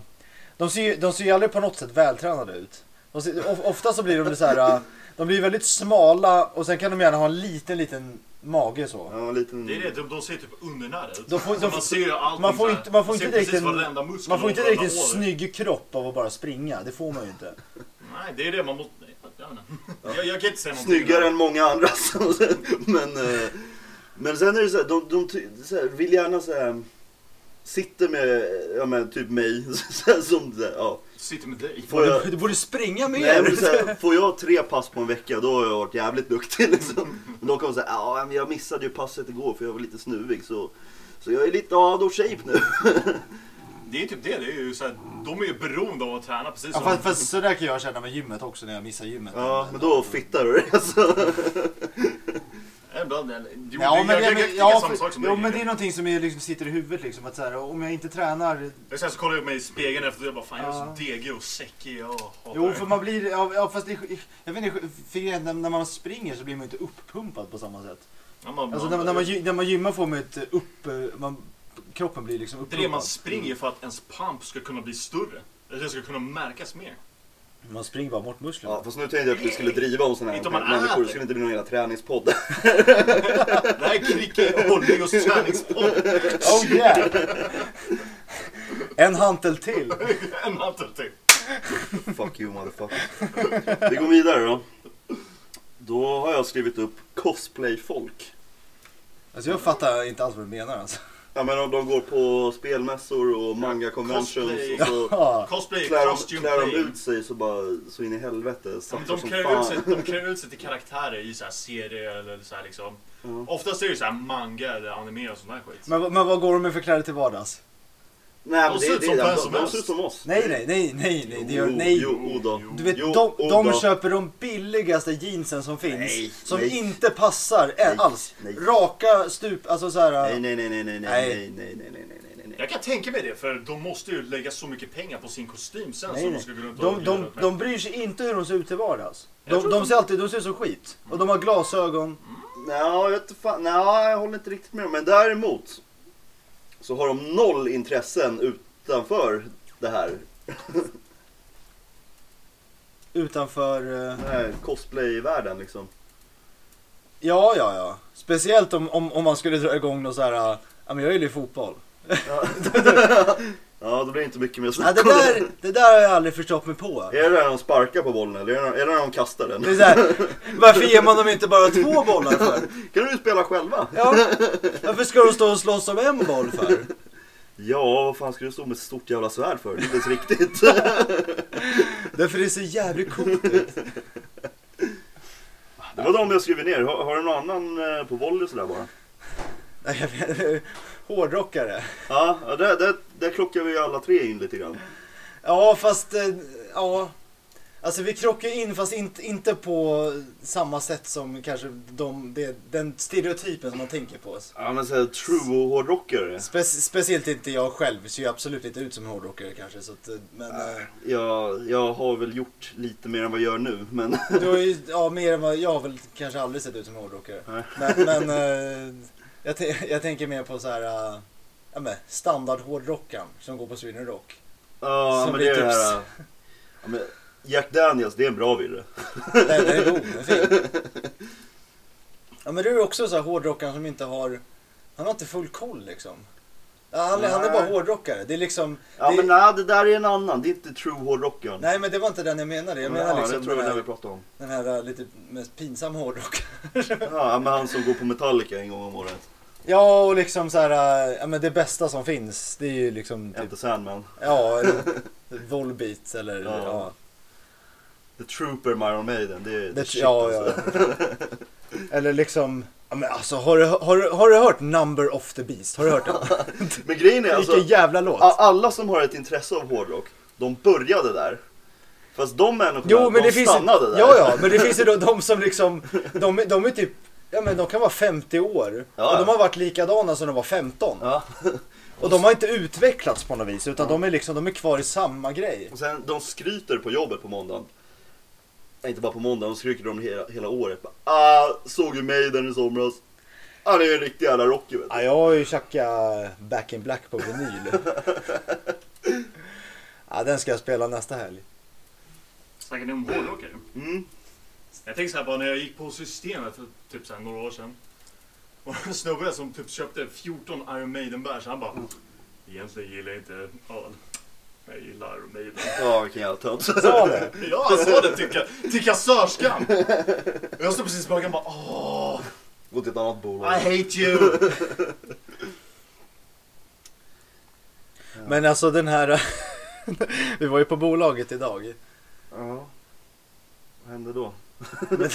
De ser, ju- de ser ju aldrig på något sätt vältränade ut. De, si- of- ofta så blir de så här, äh, de blir väldigt smala och sen kan de gärna ha en liten, liten mage så.
Ja, en liten...
Det är det, de, de ser typ undernärda ut.
De får- de
Så
får-
man ser ju allting
man får
så här.
inte- man får
ser
inte
precis
riktigt en-
varenda muskel
Man får
och
inte
varenda
riktigt
hår.
snygg kropp av att bara springa, det får man ju inte.
Nej, det är det man måste... nej, Jag, vet inte. jag, jag kan inte säga någonting.
Snyggare än många andra. som- men, eh, men sen är det så här, de, de ty- så här, vill gärna så här, sitter med, ja men typ mig. Så här, som, så här, ja.
Sitter med dig.
Får jag-
Du, du borde springa mer!
Nej, men så här, får jag tre pass på en vecka då har jag varit jävligt duktig liksom. Men de kommer säga, ja men jag missade ju passet igår för jag var lite snuvig så, så jag är lite out of shape nu.
Det är typ det. det är ju så här, de är ju beroende av att träna precis
Ja,
som...
fast, fast sådär kan jag känna med gymmet också när jag missar gymmet.
Ja, men då fittar du det alltså.
Ja, Ibland, eller, jo,
Ja,
jag,
men,
jag, jag,
men-
tycker
ja,
samma sak som
jo,
dig.
men det är någonting som är liksom sitter i huvudet liksom. Att så här, om jag inte tränar.
Jag sen så kollar jag mig i spegeln efter det och bara fan jag är
Ja.
så degig och säckig. Jag hatar
Jo,
det.
för man blir, ja, ja fast det, är- jag vet inte, för grejen, när när man springer så blir man ju inte uppumpad på samma sätt.
Ja, man,
Alltså när, man- när, man, gy- när man gymmar får man ju ett upp, eh, man, kroppen blir liksom
det är det man
uppumpad.
springer för att ens pump ska kunna bli större. Eller det ska kunna märkas mer.
Man springer bara bort musklerna.
Ja, fast nu tänkte jag att vi skulle driva om sådana
Inte
här
om man
människor. Det
äter.
skulle inte bli någon jävla träningspodd.
Det här är Kricke Oljeos träningspodd.
Oh yeah! en hantel till.
En typ. annan till.
Fuck you motherfucker. Vi går vidare då. Då har jag skrivit upp cosplayfolk.
Alltså jag fattar inte alls vad du menar alltså.
Ja men om de går på spelmässor och manga conventions och så
Ja.
Cosplay,
klär de,
costume
klär de
playing.
ut sig så bara så in i helvete.
Ja, men
Satsar
De
som
klär, ut sig,
fan.
de klär ut sig till karaktärer i så här serier eller så här liksom.
Ja.
Oftast är det ju så här manga eller anime och sån här skit.
Men, men vad går de med för kläder till vardags?
Nej men
De
det,
ser
är
ut som
det,
vem
de,
som
de
helst.
ser ut som oss.
Nej, nej, nej, nej, nej. Det gör,
Jo,
nej.
Jo, o då.
Du vet,
jo,
de,
o
de
då.
köper de billigaste jeansen som finns.
Nej,
som
nej.
inte passar
Nej,
alls.
nej.
Raka stup, alltså så här.
Nej nej nej nej nej nej
Nej.
nej nej nej nej nej nej.
Jag kan tänka mig det för de måste ju lägga så mycket pengar på sin kostym sen
nej,
som
nej.
Alltså, de ska gå runt och
De, de,
göra.
de bryr sig inte hur de ser ut till vardags.
Jag
De,
tror
de
de-
ser alltid de ser ut som skit. Och de har glasögon.
Nja, jag vet fan. Nja, jag håller inte riktigt med. Men däremot så har de noll intressen utanför det här.
Utanför... eh,
Den här cosplay-världen liksom.
Ja, ja, ja. Speciellt om, om, om man skulle dra igång någon så här... eh, Ja, men jag gillar ju fotboll.
Ja, då blir det inte mycket mer
Ja,
snack
det,
om det.
där, det där har jag aldrig förstått mig på.
Är det när de sparkar på bollen eller är det när- är det när de kastar den?
Det är så här, varför ger man dem inte bara två bollar för?
Kan du spela själva?
Ja. Varför ska de stå och slåss om en boll för?
Ja, vad fan ska du stå med ett stort jävla svärd för? Det är inte ens riktigt.
Därför det ser jävligt coolt ut.
Det var de jag skrev ner. Har, har du någon annan eh, på volley sådär bara?
Nej, jag vet- Hårdrockare.
Ja, ja, där, där, där klockar vi ju alla tre in lite grann.
Ja, fast... eh, Ja. Alltså vi krockar in fast inte, inte på samma sätt som kanske de, det- den stereotypen som man tänker på.
Ja, men såhär true-hårdrockare.
Spe, speciellt inte jag själv, ser ju absolut inte ut som en hårdrockare kanske. Så att, eh, men, eh,
Jag, jag har väl gjort lite mer än vad jag gör nu, men
Du har ju, ja mer än vad jag har väl kanske aldrig sett ut som hårdrockare.
Nej.
Men, men eh, jag, tän- jag tänker mer på så här, eh, ja men standard hårdrockaren som går på Sweden Rock.
Ja,
Som
men det är det
Beatles.
här... Ja, men Jack Daniels, det är en bra virre.
Den den är god, den är fin. Ja men du är också så här hårdrockaren som inte har, han har inte full koll liksom. Ja, han, han är bara
Nej.
hårdrockare. Det är liksom,
Ja,
det,
men nej, det där är en annan. Det är inte true hårdrockaren.
nej men det var inte den jag menade. Jag menar
ja,
liksom
det tror jag
den,
var det
här,
vi pratade om.
den här eh, lite mest pinsam hårdrock.
Ja, men han som går på Metallica en gång om året.
Ja och liksom så här, eh, ja men det bästa som finns det är ju liksom typ
Enter Sandman.
Ja, eller Volbeat eller
Ja.
ja.
The Trooper med Iron Maiden. Det är det är
Det,
shit
ja,
alltså.
ja. Eller liksom, ja, men alltså har du, har, du, har du hört Number of the Beast? Har du hört den?
Men grejen är alltså,
Vilken jävla låt!
a- alla som har ett intresse av hårdrock, de började där. Fast de människorna,
jo, men
de
det finns ju,
stannade där.
ja, ja, men det finns ju då de som liksom, de, är- de är typ, ja men de kan vara 50 år
Ja, ja.
och de har varit likadana som de var 15.
Ja.
Och de har inte utvecklats på något vis utan de är liksom, de är kvar i samma grej.
Och sen, de skryter på jobbet på måndagen. Nej, inte bara på måndagen, de skryter om det hela, hela året. Bara, ah, såg ju Maiden i somras. Han är ju en riktig jävla rocker vet du.
Ja, jag har ju tjackat Back in Black på vinyl. ja, den ska jag spela nästa helg.
Snackar ni om hårdrockare?
Mm.
Jag tänker så här bara när jag gick på systemet för typ så här några år sedan. Och en snubbe där som typ köpte 14 Iron Maiden-bärs. Han bara. "Oh, Egentligen gillar jag inte öl. Men Jag gillar Iron Maiden.
Ja, vilken jävla tönt.
Sa det?
Ja, han sa det till, ka- till kassörskan. Och jag stod precis bakom och bara åh,
Gå till ett annat
I
bolag.
hate you.
Men alltså den här... Vi var ju på bolaget idag.
Ja. Vad hände då?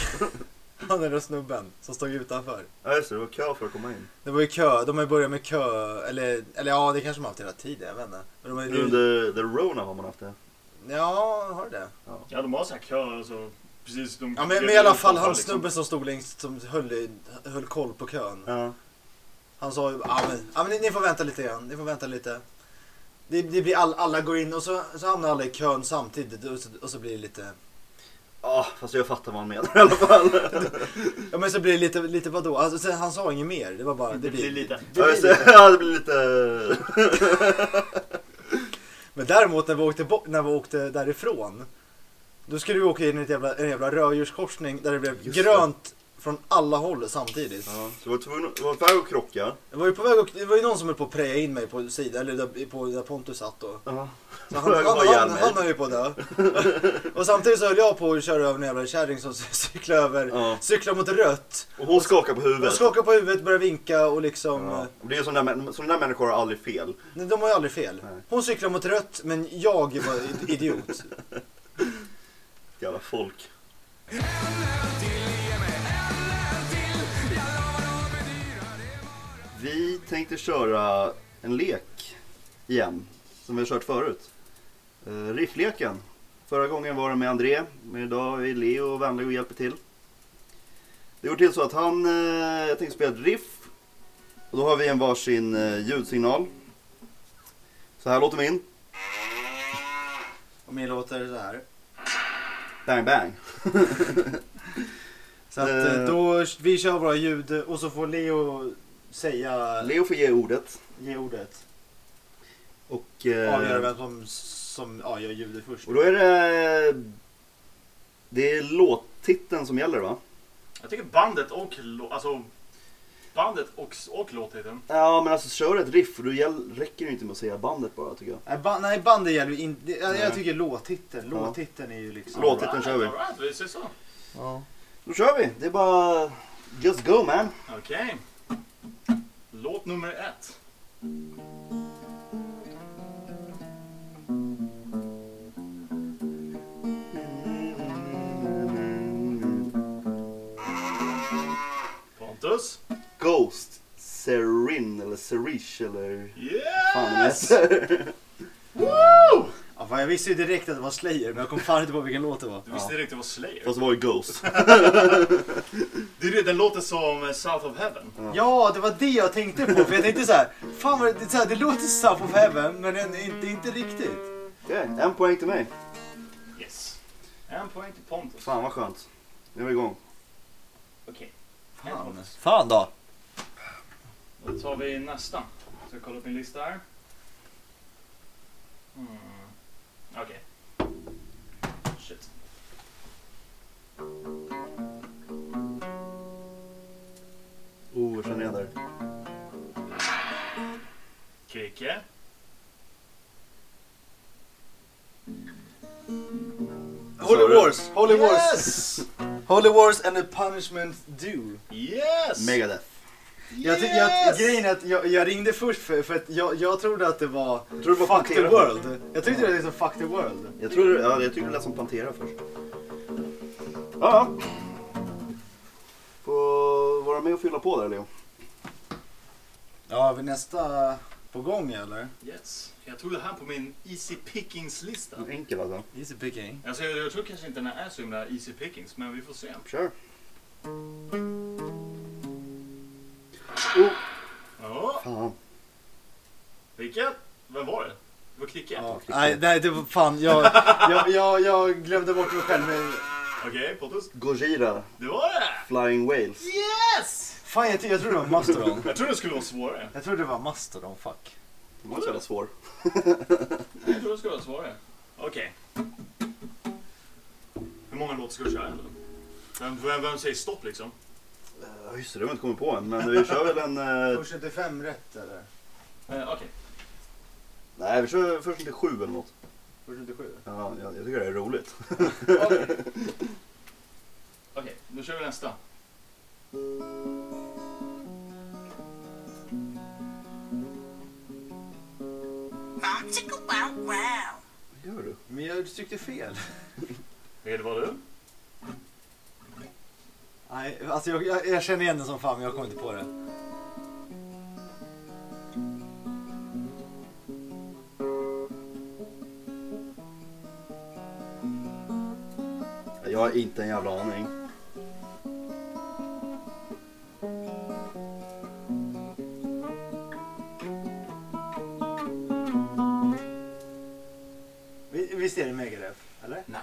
Han den där snubben som stod utanför.
Ja, just det. Det var kö för att komma in.
Det var ju kö. De har ju börjat med kö. Eller, eller ja, det kanske de har haft hela tiden. Jag vet inte. Men de har
Nu
ju-
under the Rona har man haft det.
Ja, har det?
Ja, de har så här kö och så. Precis, de
Ja, men, men i alla fall han
liksom.
snubben som stod längst som höll, i- höll koll på kön.
Ja.
Han sa ju ah, men, ah, men ni, ni får vänta lite grann, ni får vänta lite. Det, det blir all, alla går in och så, så hamnar alla i kön samtidigt och så, och så blir det lite...
Ah, fast jag fattar vad han menar i alla fall.
Ja men så blir det lite, lite vadå? Alltså, sen, han sa inget mer, det var bara...
Det blir lite.
det
Ja,
blir
just
lite.
det. Ja, det blir lite...
Men däremot när vi åkte, bo- när vi åkte därifrån. Då skulle vi åka in i ett jävla, en jävla rödljurskorsning där det blev
Just det.
grönt från alla håll samtidigt.
Ja, så var tvungen var på väg att krocka.
Jag var ju på väg och, det var ju någon som höll på att preja in mig på sidan, eller där, på, där Pontus satt då.
Ja.
Så han, han, han, han, höll ju på att dö. Och samtidigt så höll jag på att köra över en jävla kärring som cyklade över,
Ja.
cyklade mot rött.
Och hon skakar på
De
huvudet.
skakade på huvudet, började vinka och liksom,
Ja. Och Det är sådana där, män- sådana där människor har aldrig fel.
nej, de har ju aldrig fel.
Nej.
Hon cyklade mot rött, men jag var i- idiot.
Jävla folk. Vi tänkte köra en lek igen, som vi har kört förut. Eh, riffleken. Förra gången var det med André, men idag är Leo vänlig och hjälper till. Det går till så att han, eh, jag tänkte spela ett riff. Och då har vi en varsin eh, ljudsignal. Så här låter min.
Och min låter så här.
Bang bang.
Så att eh, då, vi kör våra ljud och så får Leo säga,
Leo får ge ordet.
ge ordet.
Och,
Avgöra
eh,
vem som, som ja, gör ljudet först.
och då är det... Det är låttiteln som gäller va?
Jag tycker bandet och lå- alltså bandet och, och låttiteln.
Ja men alltså kör ett riff för då gäll- räcker det ju inte med att säga bandet bara tycker jag.
Nej, ba- nej bandet gäller ju inte, jag,
Nej.
jag tycker låttiteln,
Ja.
låttiteln är ju liksom...
Låt- Låttiteln kör vi.
All right, vi ses så.
Ja.
Då kör vi! Det är bara... Just go man!
Okej. Låt nummer ett. Pontus.
Ghost Serin eller Serish eller... Fan vad
Yes!
det heter.
Woo!
Ja, fan, jag visste ju direkt att det var Slayer men jag kom fan inte på vilken låt det var.
Du visste direkt det var Slayer.
Fast det var ju Ghost.
Det är det, den låter som eh, South of Heaven.
Ja, det var det jag tänkte på för jag tänkte så här, fan vad det, så här, det låter South of Heaven men det är inte, inte riktigt.
Okej, en poäng till mig.
Yes. En poäng till Pontus.
Fan vad skönt. Nu är vi igång.
Okej. En
Fan,
Pontus.
fan då.
Då tar vi nästa. Ska jag kolla upp min lista här. Mm. Okej. Shit.
Oh, jag känner igen det här.
Kicke.
Holy
Sorry.
Wars, Holy Wars. Holy Wars and the punishment due.
Yes!
Megadeth.
Jag, ty- jag, grejen är att jag, jag ringde först för, för att jag, jag trodde att det var
Tror du
Fuck the world. Jag tyckte det var liksom Fuck the world.
Jag tror, ja, jag tycker det lät som Pantera först. Ja, ja. Får vara med och fylla på där Leo.
Ja, har vi nästa på gång eller?
Yes. Jag tog det här på min Easy Pickings-lista.
Enkel alltså.
Easy picking.
Alltså, jag, jag tror kanske inte den här är så himla Easy Pickings, men vi får se.
Kör.
Ja.
Fan.
Vilket? Vem var det? Det var Kicke?
Ja,
klick.
nej, nej, det var fan. Jag, jag, jag, jag glömde bort mig själv. Men
Okej, Pontus.
Gojira,
Det var det!
Flying Whales.
Yes!
fan, jag, ty- jag trodde det var Mastodon.
Jag trodde det skulle vara svårare.
Jag trodde det var Mastodon, fuck.
Det var inte så jävla svår.
Jag trodde det skulle vara svårare. Okej. många låtar ska du köra? eller? Vem, vem, vem säger stopp liksom?
Ja, just det, det har vi inte kommit på än. Men vi kör väl en... eh,
Får 75 rätt eller?
Eh, Okej.
Nej, vi kör först inte sju eller något.
Får 77?
Ja, jag, jag tycker det är roligt.
Okej, Okej, nu kör vi nästa.
Popsicle wow wow.
Vad gör du?
Men jag tryckte fel.
Är det var du?
Nej, alltså jag, jag, jag känner igen den som fan men jag kommer inte på det.
Jag har inte en jävla aning.
Vi- Visst är det Megadeth? Eller?
Nej.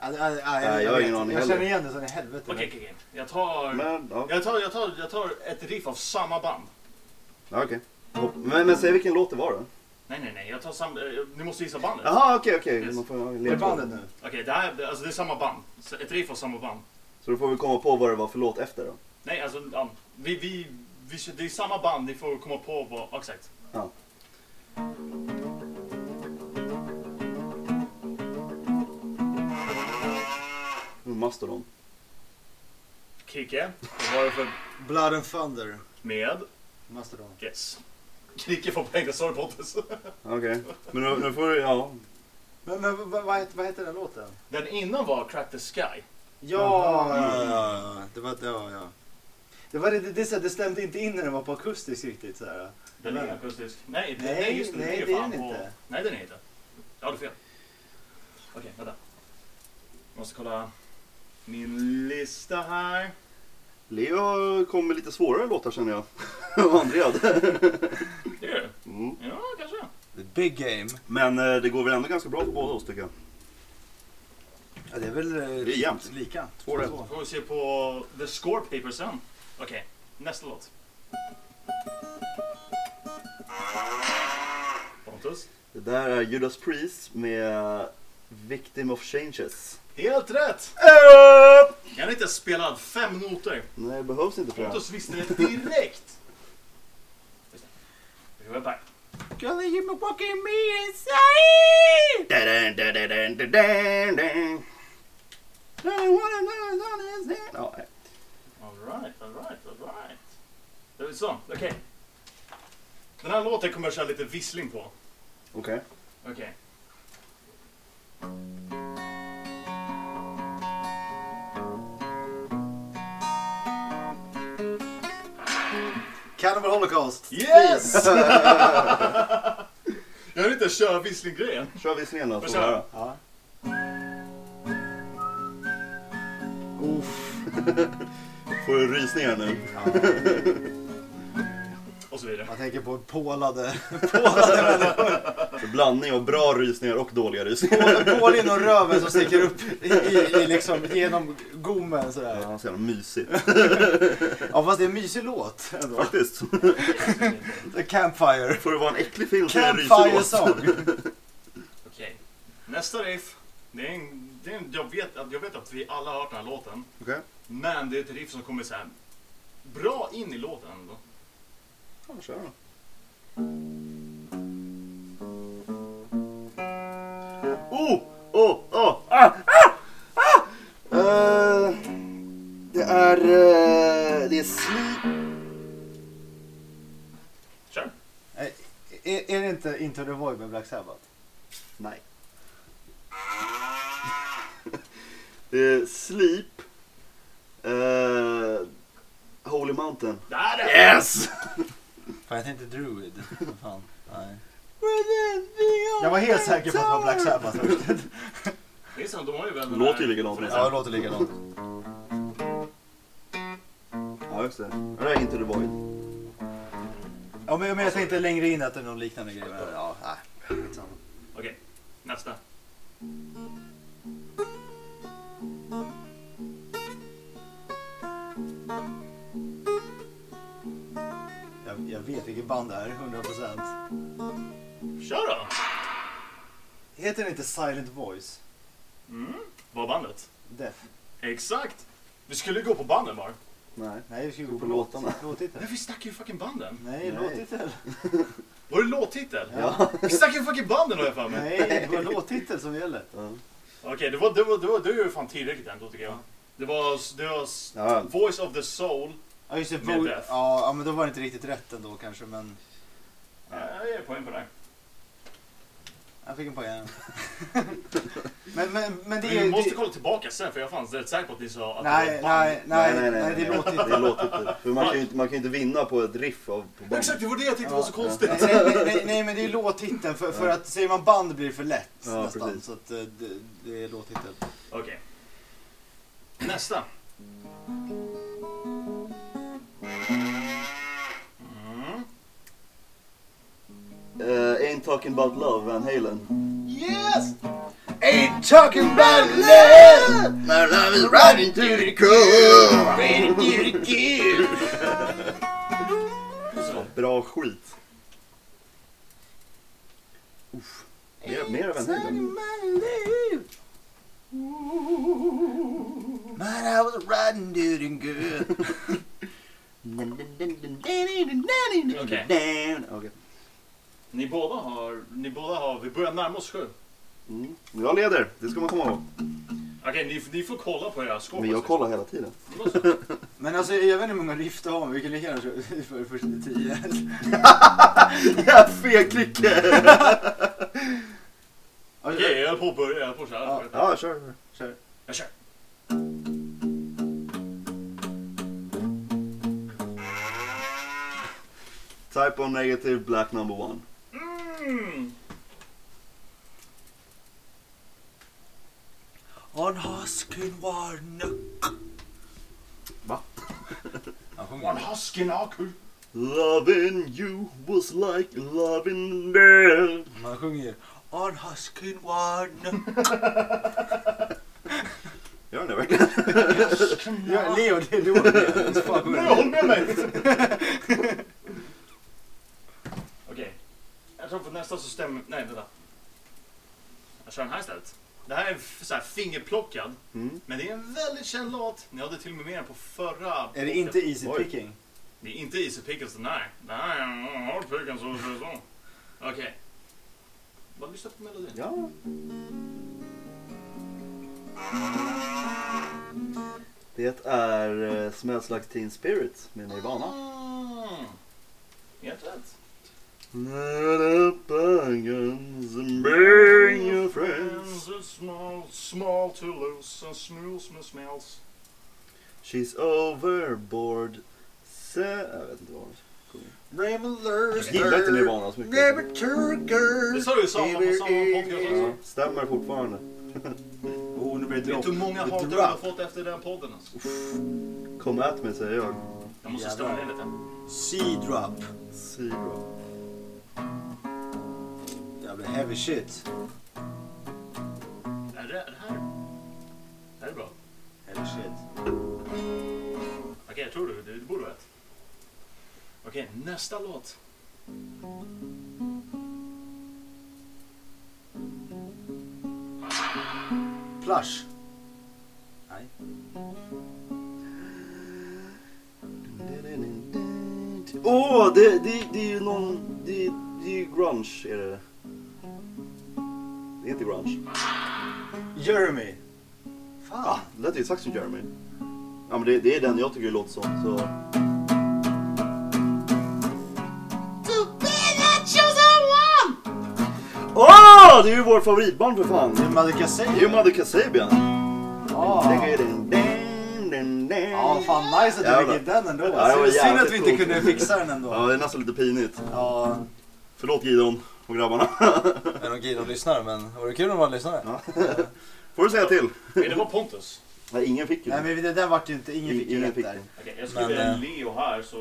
Ah, ah, ah,
Nej, jag har ingen
vet
aning
inte. Jag
heller.
känner igen den som i helvete.
Okej, okej, okej. Jag tar...
Men, ja.
Jag tar, jag, tar, jag tar ett riff av samma band.
Ja, okej. Hopp- Men, men säg vilken låt det var då.
Nej, nej, nej. Jag tar samma... eh, Ni måste gissa bandet.
Jaha, okej, okej.
Yes.
Man får ha en
Är det
ledtråd.
bandet nu?
Okej, det här det- alltså, det är samma band. Så Ett riff av samma band.
Så då får vi komma på vad det var för låt efter då.
Nej, alltså... ja, Vi, vi, vi, det är samma band. Ni får komma på vad... ja, Exakt.
Ja. Mm, Mastodon.
Kicke. Vad var det för...
Blood and Thunder.
Med...
Mastodon.
Yes. Kicke får pengar. Sorry Pontus.
Okej. Men nu, nu får du, ja.
Men, men vad, vad, heter, vad heter den låten?
Den innan var Crack the Sky.
Ja, ja, ja, ja. Det var det. Var, ja. Det, var, det, det, det, är så här, det stämde inte in när den var på akustisk riktigt. Så här.
Den
Nej.
är akustisk. Nej, det,
Nej,
nej, just det.
nej,
ju
det är
fan
den
på-
inte.
Nej, den är inte. Jag hade fel. Okej, vänta. Måste kolla min lista här.
Leo kom med lite svårare låtar känner jag. Och André hade.
Det gör du?
Mm.
Ja, kanske.
The Big Game.
Men eh, det går väl ändå ganska bra för båda oss tycker jag.
Ja, det är väl eh,
Det är jämnt.
lika.
Två rätt.
Då får vi se på The Score Paper sen. Okej, nästa låt. Pontus?
Det där är Judas Priest med Victim of Changes.
Helt rätt! Jag har inte spelat fem noter.
Nej, det behövs inte för det. här.
Pontus visste det direkt. Just det. Vi går back.
Gonna hear me walking me
Da-dun, da-dun, da-dun, da-dun, da-dun. I wanna know as long as that- Ja, eh, nej.
Alright, alright, alright. Då är vi så, okej. Den här låten kommer jag köra lite vissling på.
Okej.
Okej.
Cannibal Holocaust.
Yes! jag vill inte köra visslinggrejen.
Kör visningen då. så
Får
får vi höra.
jag
Ja. Uff.
Får du rysningar nu?
Ja.
Och så vidare.
Jag tänker på pålade...
En Blandning av bra rysningar och dåliga rysningar.
Pål inom röven som sticker upp i, i, i liksom, genom gommen sådär.
Ja, så jävla mysigt.
Ja fast det är en mysig låt ändå.
Faktiskt.
Okej.
The Campfire.
Får det vara en äcklig film så är det en rysig
Campfire
låt.
song.
Nästa riff. Det är en, det är en, jag, vet, att- jag vet att vi alla har hört den här låten.
Okej.
Men det är ett riff som kommer så här bra in i låten ändå.
Ja, kör då. Oh! Oh! Oh! Ah! Ah! Ah! Eh, det är... eh, det är Sleep...
Kör.
Nej, Eh, Är, är det inte Into the Void med Black Sabbath?
Nej. det är Sleep... eh, Holy Mountain.
Där är den!
Yes!
Fan jag tänkte Druid. Fan. Nej. Jag var helt säker på att det var Black Sabbath.
Det är sant, de har ju väl den
Låter ju
här-
likadant.
Ja det låter likadant.
Ja, just det. Det där är inte The Void.
Ja men, men jag tänkte längre in att det är någon liknande grej. Men, ja, nej. skitsamma.
Okej, nästa.
Jag, jag vet vilket band det är, 100%.
Kör då!
Heter det inte Silent Voice?
Mm. var bandet.
Death.
Exakt! Vi skulle gå på banden bara.
Nej.
Nej, vi ska
Gå
gå på
på
låt-
låtarna.
låttitel.
Men vi snackar ju fucking banden.
Nej,
Nej.
låttitel.
Var det låttitel?
Ja.
Vi snackar ju fucking banden har jag för mig.
Nej, det var låttitel som gäller.
Ja.
Okej, det var, det var, det var, det var ju fan tillräckligt ändå tycker jag. Det var, det var s-
Ja.
Voice of the Soul.
Ja, just det.
Med
Bo-
Death.
ja, ja, men då var det inte riktigt rätt ändå kanske, men
Ja, jag ger poäng på det.
jag fick en poäng. men, men, men det är
Vi
ju...
måste
det-
kolla tillbaka sen för jag är fan rätt säker på att ni sa att
Nej,
det var
nej, nej, nej, det är
låter
låttitel.
inte. Det låter inte. För man kan ju inte, man kan ju inte vinna på ett riff av på band.
Exakt, det var det jag tyckte var så
Ja.
konstigt.
Alltså, Nej, nej, nej, nej men det är låttiteln för, för att säger man band blir det för lätt
Ja,
nästan.
precis.
Så att eh, det, det är låttitel.
Okej. Nästa. Mm.
Eh, ain't talking about love, Van Halen.
Yes!
Ain't talking about love!
My love is riding to the core.
Så.
Bra skit. Uff. Mer, mer Van Halen.
Man I was riding dude and good.
Okej.
Okej.
Ni båda har, ni båda har, vi börjar närma oss sju.
Mm. Jag leder, det ska man komma ihåg.
Okej, ni, ni får kolla på era skåp.
Men jag kollar hela tiden.
Det var så.
Men alltså jag vet inte hur många riff du har men vi kan lika gärna köra för första tio.
Fegklicke!
Alltså,
Okej, jag höll på att börja, jag höll på att köra.
Ja, kör. kör.
Jag kör.
Type on negative, black number one.
Mm.
On Hoskin Warnock.
Va?
Han sjunger.
One husky aku.
Loving you was like loving them.
Man sjunger On Hoskin Warnock.
Gör den det verkligen?
Ja, Leo, det är du och fan.
Nej, håll med mig! Okej. Jag tror på nästa så stämmer... Nej, vänta. Jag kör den här istället. Det här är f- så här fingerplockad,
Mm.
men det är en väldigt känd låt. Ni hade till och med med den på förra...
Är det inte Easy
Oj.
Picking?
Det är inte Easy Pickles den här. Det här är Hard Pickens och så. så. Okej. Bara lyssna på melodin.
Ja. Det är uh, Smells Like Teen Spirit med Nirvana.
Mm. Helt rätt.
Let up our guns and bring your friends.
It's small, small to loose and smooth smell smells.
She's overboard. Se- Jag vet inte vad hon Jag gillar inte Nirvana så mycket.
Det sa du ju samma på samma podcast
Ja,
också.
stämmer fortfarande.
Oh, nu blir det
Vet du hur många
dropp.
hatar du har fått efter den podden? Alltså?
Kom at mig säger jag.
Jag måste
Jävlar.
störa dig lite.
C-drop.
Zero.
Jävla heavy shit.
Är det, är det här? Det här är bra.
Heavy shit.
Okej, jag tror du, du, du borde vet. Okej, nästa låt.
Plush. Nej.
Åh, det, det, det är ju någon... Det, är- det är ju grunge är det. Det är inte grunge.
Jeremy.
Ah,
Fan.
det lät ju exakt som Jeremy. Ja men det, det är den jag tycker det låter som. Så.
To be the chosen one!
Åh, det är ju vår favoritband för fan.
Det är
Det är ju
Madagaskar.
Mother Kasabian.
Ja. Ja,
Ja,
fan nice att du
Jävlar.
fick in den ändå.
Ja, det var
Synd- Synd att
jävligt
vi inte
coolt.
kunde fixa den ändå.
det är nästan lite pinigt.
Ja,
Förlåt Gideon och grabbarna.
men okej, de lyssnar. Men var det kul om man lyssnade?
Får du säga till.
Nej, det var Pontus.
Nej, ingen fick ju
Nej,
det.
men det där vart ju inte... Ingen fick ju
Ingen
rätt
fick
där.
det.
Okej, jag
Men,
skriver
eh,
en Leo här så...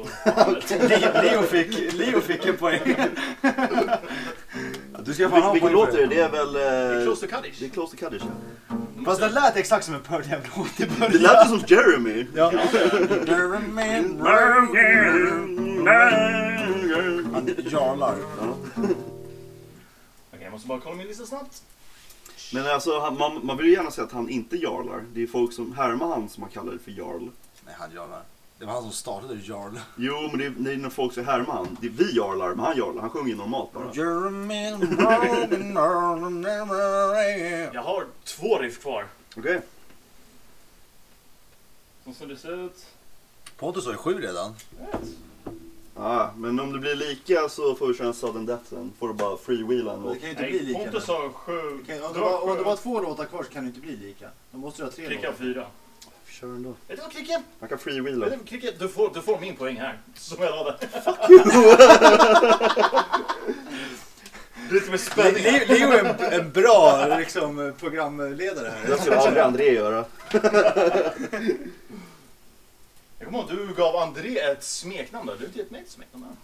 Le- Leo fick, Leo fick en poäng. Du ska fan
Vil-
ha en
Vilken
poäng
låt
för
är det? Det är väl...
Det är
eh,
Close to Kaddish.
Det är Close to Kaddish. ja.
Fast den lät exakt som en Pearl Jam-låt i
Det
början.
lät ju som Jeremy.
Ja. Han jarlar.
Okej, jag måste bara kolla min lista snabbt.
Men alltså, han, man, man vill ju gärna säga att han inte jarlar. Det är folk som härmar han som man kallar det för jarl.
Nej, han jarlar. Det var han som startade Jarl.
Jo, men det är, det är när folk säger härmar han. Det är vi jarlar, men han jarlar. Han sjunger normalt bara.
Jeremy Brogan, Jarl, never end.
Jag har två riff kvar.
Okej.
Som ser det ut.
Pontus har ju sju redan.
Ah, men om det blir lika så får vi köra en sudden death sen. Får du bara freewheela en
Det
låt.
kan ju inte bli
Nej,
lika.
Pontus
nu.
har sju.
Det kan ju- Om
Du
det, var,
har
om det var
sju.
två låtar kvar så kan det inte bli lika. Då måste du ha tre
Klicka
låtar.
fyra.
Kör ändå.
Vet du vad Klicka?
Man kan freewheela.
Vet du vad Klicka? Du får, du får min poäng här. Som jag hade. Lite med spänning. här.
Leo är en, en bra liksom, programledare här.
Det skulle aldrig André göra. Eh,
Jag kommer ihåg att du gav André ett smeknamn där. Du har inte gett mig ett smeknamn än.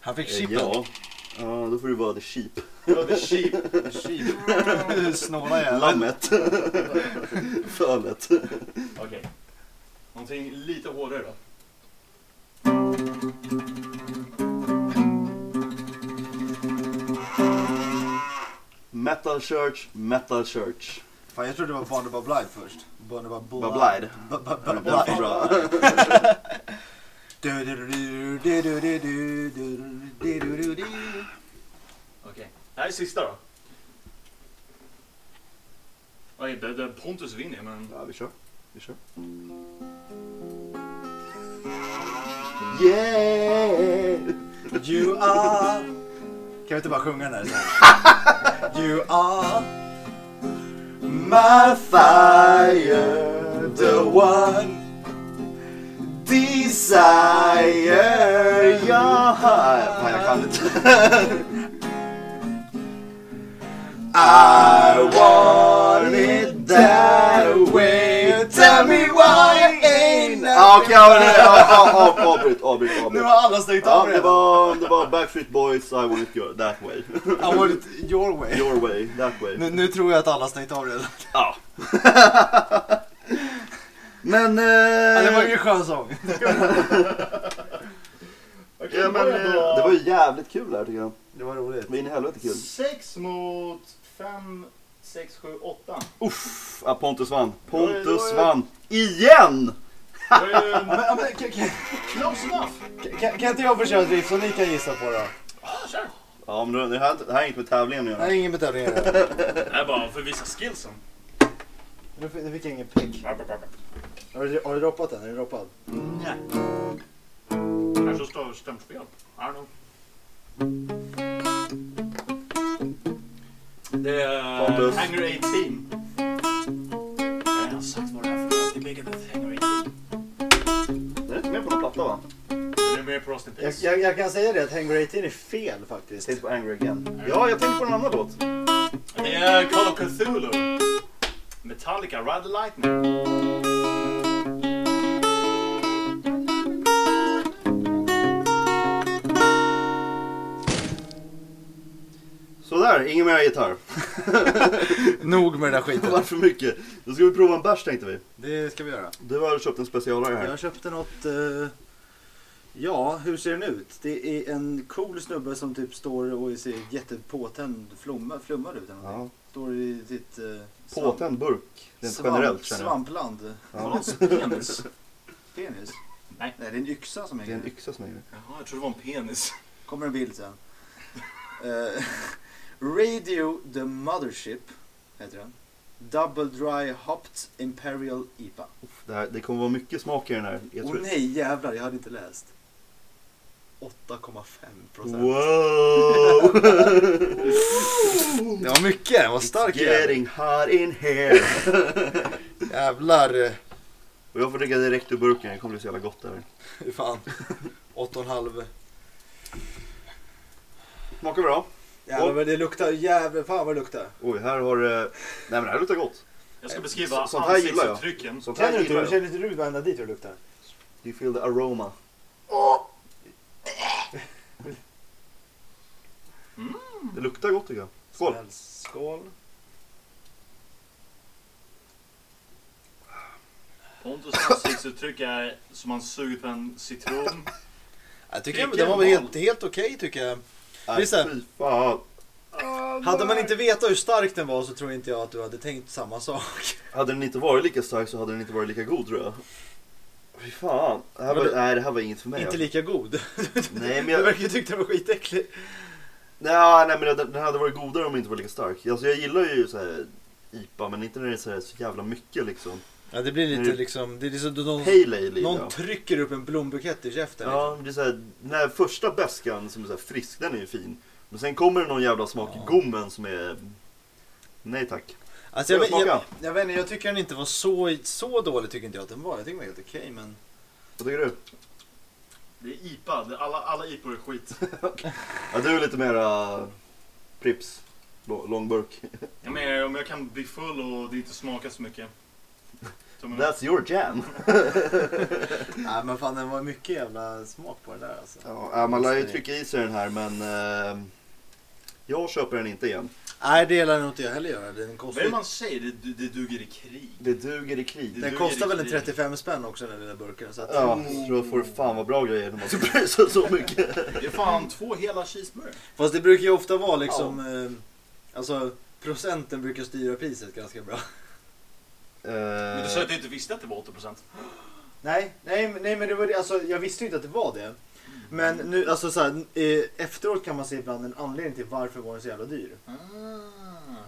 Han fick
Eh,
chippen.
Ja. Ja, då får du vara the sheep.
Du hade Sheep.
Chip. Snåla jäveln.
Lammet. Fölet.
Okej. Någonting lite hårdare då.
Metal Church, Metal Church.
Fan, jag trodde det var Barnaba Bly först. Barnaba
Vad blide. Den
Bly.
var bra.
Okej. Det här är sista då. Okej, det, det Pontus vinner men...
Ja, vi kör. Vi kör. Yeah!
You are... Kan vi inte bara sjunga den här sen? You are my fire, the one
Desire your heart. Fan, jag kan inte.
I want it that way. Tell me why ain't
Ja, Okej, ja, nej, ja, ja, av- avbryt, avbryt,
Nu
avbryt.
har alla stängt
Ja,
av
det
redan.
var, det var Backstreet Boys, I want it your, that way.
I want it your way.
Your way, that way.
Nu, nu tror jag att alla stängt av redan.
Ja. Men... Eh,
Ja, det
det
var ju en skön sång.
Okej,
ja, men eh, det var ju jävligt kul det här tycker jag.
Det var roligt.
Det var in i helvete kul.
6 mot 5, 6, 7, 8.
Uff, ja, Pontus vann.
Oj, oj,
Pontus
oj.
vann. IGEN!
Det var ju
Men, ja, men, kan, kan,
close enough.
kan, kan inte jag få köra ett riff som ni kan gissa på då?
Ja, kör.
Ja, men det här, det här är inte med tävlingen att göra.
Nej, ingen betalning här.
Det här är bara för att visa skillsen.
Nu fick- nu fick jag ingen pick. Har du, har du droppat den? Är den droppad?
Kanske står stämt fel. I don't know. Det är
Pontus.
Hanger 18. Jag har sagt vad det är för något. Det är bigger than Hanger 18.
Den är inte med på någon platta va?
Den är med på Rust in
Jag,
Peace.
jag, jag kan säga det att Hangar 18 är fel faktiskt.
Tänkte på Angry Again. Ja, jag tänkte på en annan låt.
Det är Call of Cthulhu. Metallica, Ride the Lightning.
Sådär, ingen mer gitarr.
Nog med den där
Det
skiten.
var för mycket. Då ska vi prova en bärs tänkte vi.
Det ska vi göra.
Du har köpt en specialare här.
Jag köpte något... eh, ja, hur ser den ut? Det är en cool snubbe som typ står och ser jättepåtänd flumma, flummad ut. Eller
Ja.
någonting. Står i sitt... eh, svamp-
Påtänd burk, rent
svamp-
generellt känner jag.
Svampland.
Någons penis.
Penis?
Nej.
det är en yxa som
Det är
hänger.
en yxa som är det.
Jaha, jag trodde det var en penis.
Kommer en bild sen. Eh, Radio the Mothership heter den. Double Dry Hopped Imperial IPA.
Det, här, det kommer vara mycket smak i den här. Jag
Åh
tror...
nej jävlar, jag hade inte läst. 8,5 procent.
Wow!
Det var mycket, det var stark jävel.
Getting hot in here!
Jävlar. eh,
Och jag får dricka direkt ur burken, det kommer bli så jävla gott där.
Hur fan. 8,5.
Smakar bra.
Jävlar vad det luktar, jävlar fan vad det luktar.
Oj, här har det... Nej men det här luktar gott.
Jag ska beskriva
Så- sånt här gillar jag.
ansiktsuttrycken.
Sånt här gillar jag.
inte du varenda dit hur det luktar?
Do you feel the aroma?
Mm.
Det luktar gott tycker jag. Skål!
Skål.
Pontus ansiktsuttryck är som han suger på en citron.
Jag
Vilken
tycker den var väl
val.
helt, helt okej tycker jag.
Nej,
Visst är-
fy fan.
Ah,
Hade man inte vetat hur stark den var så tror inte jag att du hade tänkt samma sak.
Hade den inte varit lika stark så hade den inte varit lika god tror jag. Fy fan. Det här
Men
var,
det-
nej, det här var inget för mig.
Inte
alltså.
lika god.
nej, men
Du
jag,
verkar ju tycka den var skitäcklig.
nej, nej, men den den hade varit godare om den inte var lika stark. Alltså, jag gillar ju så här IPA, men inte när det är så, här, så jävla mycket liksom.
Ja det blir lite
Mm.
liksom, det är liksom någon,
Pale ale gillar
någon
jag.
trycker upp en blombukett i käften.
Ja, det är så här, den här första beskan som är så här frisk, den är ju fin. Men sen kommer det någon jävla smak i gommen som är... Nej tack.
liksom. Alltså, jag,
Får jag
jag, jag,
smaka?
jag vet inte, jag tycker den inte var så, så dålig tycker inte jag att den var. Jag tycker den var helt okej men.
Vad tycker du?
Det är IPA, det är alla, alla IPA är skit.
Ja, du är lite mera... Prips. Lå- Långburk.
Jag menar om jag kan bli full och det inte smakar så mycket. Tummen upp.
That's your jam.
Nej men fan den var mycket jävla smak på den där alltså.
Ja, man lär ju trycka i sig den här men... Eh, jag köper den inte igen.
Nej det gillar nog inte jag heller göra. Den kostar,
Vad är det man säger? Det, det, det duger i krig.
Det duger i krig.
Det-
den
du
kostar
är
väl en
riktig-
35 spänn också den lilla burken. Så att,
Ja, då får du fan vad bra grejer när man ska prisa så mycket.
Det är fan två hela
Eh.
cheeseburgare.
Fast det brukar ju ofta vara liksom, eh, alltså procenten brukar styra priset ganska bra.
Men du sa
Eh,
att du inte visste att det var 80%.
Nej, nej, men- nej men det var det. Alltså, jag visste ju inte att det var det. Men nu, alltså så här, eh, efteråt kan man se ibland en anledning till varför var den så jävla dyr.
Ah,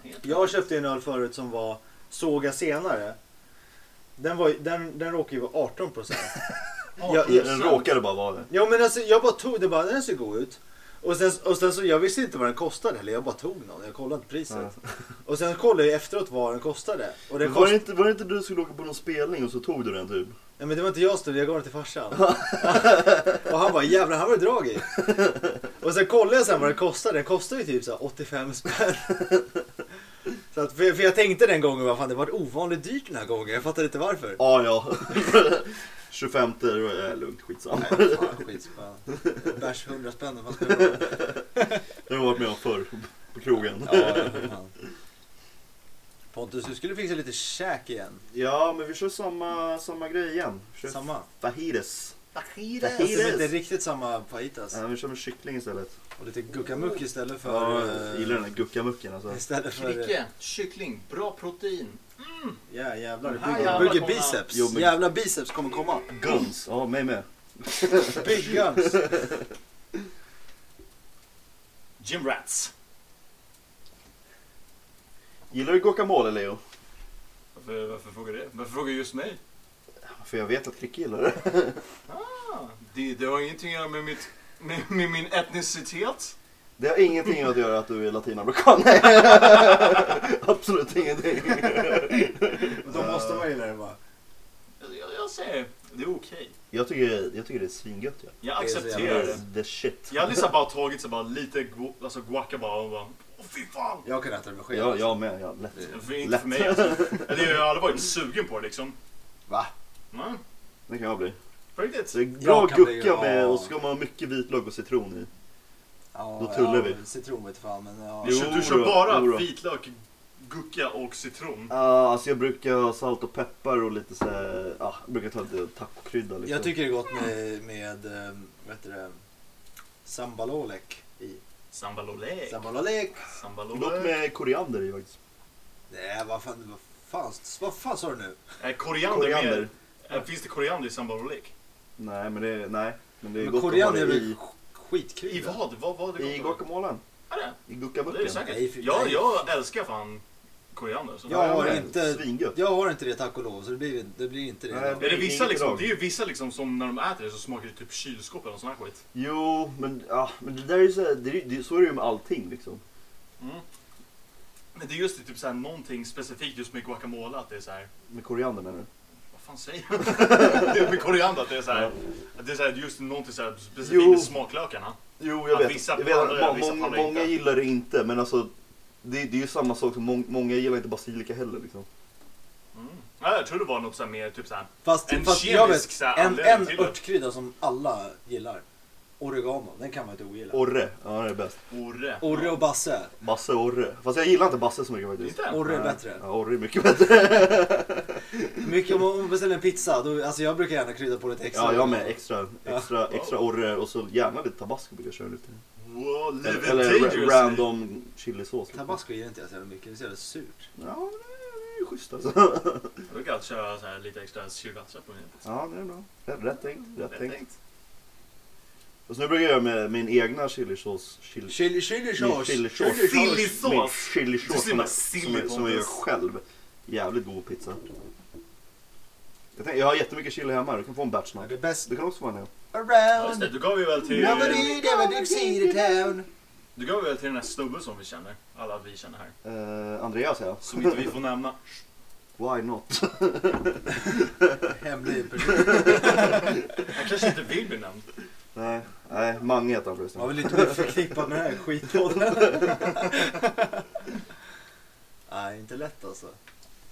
helt-
Jag köpte ju en öl förut som var såga senare. Den, var, ju- den, den råkade ju vara 18 procent. jag, jag,
den råkade bara vara det.
ja men alltså jag bara tog det bara, den här ser god ut. Och sen, och sen så, jag visste inte vad den kostade heller, jag bara tog någon, jag kollade inte priset. Och sen kollade jag efteråt vad den kostade. Och den
Men Var
kost...
det, inte, var det inte du som skulle åka på någon spelning och så tog du den typ?
Nej men det var inte jag som jag gav den till farsan. och han bara jävlar, han var det drag i. Och sen kollade jag sen vad den kostade, den kostade ju typ så här 85 spänn. Så att, för, för jag tänkte den gången, vad fan det var ovanligt dyrt den här gången, jag fattade inte varför.
Ja, ja. 25 är lugnt, skitsamma.
Nej, fan skitspänn. Bärs 100 spänn, vad fan ska det vara?
Det har jag varit med om förr på krogen.
Ja, ja, för fan. Pontus, du skulle fixa lite käk igen.
Ja, men vi kör samma, samma grej igen. Vi kör
Samma.
fajitas.
Fast
Fajitas!
det är inte riktigt samma fajitas.
Ja, vi kör med kyckling istället.
Och lite guckamuck istället för...
Ja, jag
eh,
gillar den där guckamucken alltså.
Istället för...
Knäcke, kyckling, bra protein.
Ja jävlar, det
Här
bygger,
jävlar
bygger
kommer
biceps.
Jo, men-
Jävla biceps kommer komma.
Guns, ja mig med.
Big guns.
Gym rats.
Gillar du guacamole Leo?
Varför, varför frågar du det? Varför frågar du just mig?
För jag vet att Kricke gillar det.
Ah, det, det har ingenting att göra med, mitt, med, med min etnicitet.
Det har ingenting att göra att du är latinamerikan. Nej. Absolut ingenting.
Då måste man gilla det bara.
Jag, jag, jag säger, det är okej.
Jag tycker, jag tycker det är svingött. Ja.
Jag
Det är så
accepterar
jävla-
det.
The shit.
Jag hade liksom bara tagit så bara lite gu, alltså guaca bara och bara, åh fy fan.
Jag kan äta det med sked.
Ja, jag med, ja, lätt.
För, inte
Lätt.
för mig alltså. Eller jag har aldrig varit sugen på det liksom.
Va?
Mm,
Det kan jag bli.
på riktigt.
Så det är bra
Jag kan bli-
gucka med
ja.
och så ska man ha mycket vitlök och citron i.
Ja,
Då tullar vi.
Citron vet fan men ja.
Du,
Jo
kör- du
då,
kör bara
jo då.
vitlök, gucka och citron.
Uh, alltså jag brukar ha salt och peppar och lite så här, ah, jag brukar ta lite tacokrydda liksom.
Jag tycker det är gott med, med eh, vad heter det, sambalolek i.
Sambalolek.
Sambalolek!
Gott
Sambalolek.
med koriander i faktiskt.
Nej vad fan, vad fan, vad fan sa du nu?
Äh, koriander,
Koriander?
med. Äh, finns det koriander i sambalolek?
Nej men det, nej. Men det är
Men
gott
koriander är
att ha det
väl
i,
I
skitkrydda?
vad? Vad var det
i guacamolen.
Ja,
I
det är det är det
guckamucken.
Nej,
säkert.
fy-
Jag,
nej.
jag älskar fan koriander. Så.
Ja, jag har
men,
inte-
Svingött.
Jag har inte det tack och lov så det blir, det blir inte det.
Nej,
idag.
Är det, vissa
Inget
liksom,
drag.
det är ju vissa liksom som när de äter det så smakar det typ kylskåp eller sån här skit.
Jo men, ah, men det där är ju så här, det, är- det, så är det ju med allting liksom.
Men det är just det, typ såhär, någonting specifikt just med guacamole att det är såhär,
Med koriander menar du?
vad fan säger jag? det är med koriander att det är såhär, att det är såhär, just någonting såhär specifikt
Jo.
med smaklökarna.
Jo
Ja,
jag vet.
vissa
jag vet att
pallar,
må-
vissa
många,
pallar inte.
många gillar det inte men alltså det, det är ju samma sak som mång- många gillar inte basilika heller liksom.
Ja, jag tror det var något såhär mer typ såhär,
Fast,
En
fast
kemisk
jag vet,
så här
en,
anledning
en
till det.
örtkrydda som alla gillar. Oregano, den kan man inte ogilla.
Orre, ja det är bäst.
orre.
Orre och Basse.
Basse och Orre. Fast jag gillar inte Basse så mycket faktiskt.
Inte?
Orre är
Nej.
bättre.
Ja, Orre är mycket bättre.
Mycket, om man beställer en pizza, då, alltså jag brukar gärna krydda på lite extra.
Ja, jag med. Extra, extra, extra Orre och så gärna lite tabasco brukar jag köra lite.
Wow, live it
Eller ra-
dangerously.
random chilisås. liksom.
Tabasco ger inte jag så jävla mycket, det är så jävla surt.
Ja, men det är ju schysst alltså.
Jag brukar alltid köra så här lite extra sriracha på min.
Ja, det är bra. Rätt, rätt tänkt. Rätt
Rätt
tänkt.
tänkt.
Fast nu brukar jag göra med min egna chilisås. Chili,
Chili, chili
min
sauce.
chilisås.
Chili- chilisås.
Min chilisås
Du ser
som,
bara
jag-
silly
som, jag- som jag gör
Pontus.
själv. Jävligt god pizza. Jag, tänkte, jag har jättemycket chili hemma. Du kan få en batch
Ja,
snart.
Det är bäst
Det kan också vara en.
Ja, just det,
around.
du gav ju väl till...
Nobody never did see the town.
Du gav ju väl till den här snubben som vi känner. Alla vi känner här.
Uh, Andreas ja.
Som inte vi får nämna.
Why not?
Hemlig person.
Han kanske inte vill bli nämnd.
Nej, nej Mange heter han
Man
förresten.
vill inte bli förknippad med den här skitpodden. Nej, inte lätt alltså.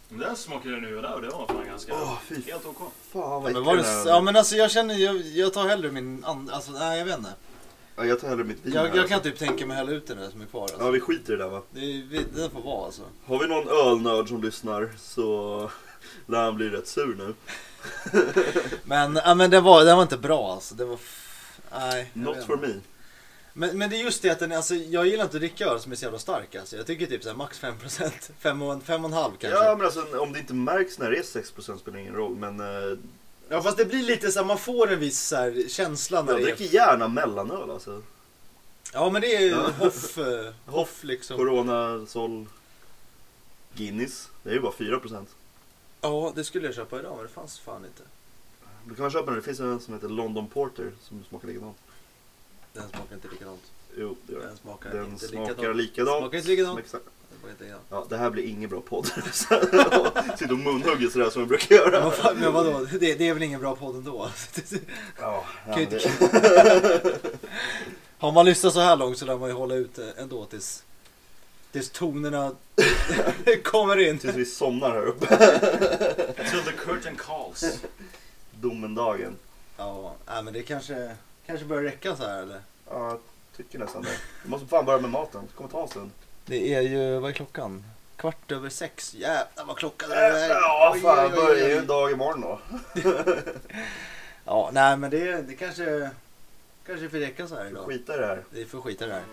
Men den smakade jag nu där och det var fan ganska...
Åh, fy
Helt OK.
fan vad
Men
äcklig
var
den
det,
här-
ja men alltså jag känner, jag, jag tar hellre min and, alltså nej jag vet inte.
Ja, Jag tar hellre mitt vin
Jag,
här,
jag kan
alltså.
typ tänka mig att hälla ut den där som är kvar alltså.
Ja, vi skiter i det där va.
Det, är- vi, den får vara alltså.
Har vi någon ölnörd som lyssnar så lär han bli rätt sur nu.
Men, ja, men den, var, den var inte bra alltså. Det var, f- nej. jag
Not
vet
for
inte.
me.
Men, men det är just det att den, är- alltså, jag gillar inte att dricka öl som är så jävla stark alltså. Jag tycker typ så här max 5%, 5,5 kanske.
Ja men alltså om det inte märks när det är 6% spelar ingen roll. Men eh,
Ja fast det blir lite så här, man får en viss så här, känsla när
jag
det är...
dricker gärna mellanöl alltså.
Ja men det är ju
Ja.
hoff, eh, hoff liksom.
Corona, Sol, Guinness. Det är ju bara 4%.
Ja det skulle jag köpa idag men det fanns fan inte.
Då kan man köpa den. Det finns en som heter London Porter som smakar likadant.
Den smakar inte likadant.
Jo, det gör den.
Den smakar
Den
inte
smakar
likadant.
likadant.
Smakar inte likadant.
Som exakt-
Den smakar inte likadant.
Ja, det här blir ingen bra podd. Sitter och munhugger sådär som vi brukar göra.
Men vad- Men vadå, det, det är väl ingen bra podd ändå?
Ja, ja,
Kan ju inte-
det-
Har man lyssnat så här långt så lär man ju hålla ut ändå tills, tills tonerna kommer in.
Tills vi somnar här uppe.
Till the curtain calls.
Domendagen.
Ja, nej, men det kanske, kanske börjar räcka så här eller?
Ja, jag tycker nästan det. Vi måste fan börja med maten. Det kommer ta en stund.
Det är ju, vad är klockan? Kvart över sex. Jävlar vad klockan är.
Ja,
Oj,
fan.
oj, oj,
Börjar ju
oj.
en dag imorgon då.
Ja, nej men det, det kanske, kanske får räcka så här idag.
Skita i det här.
Vi får skita i det här.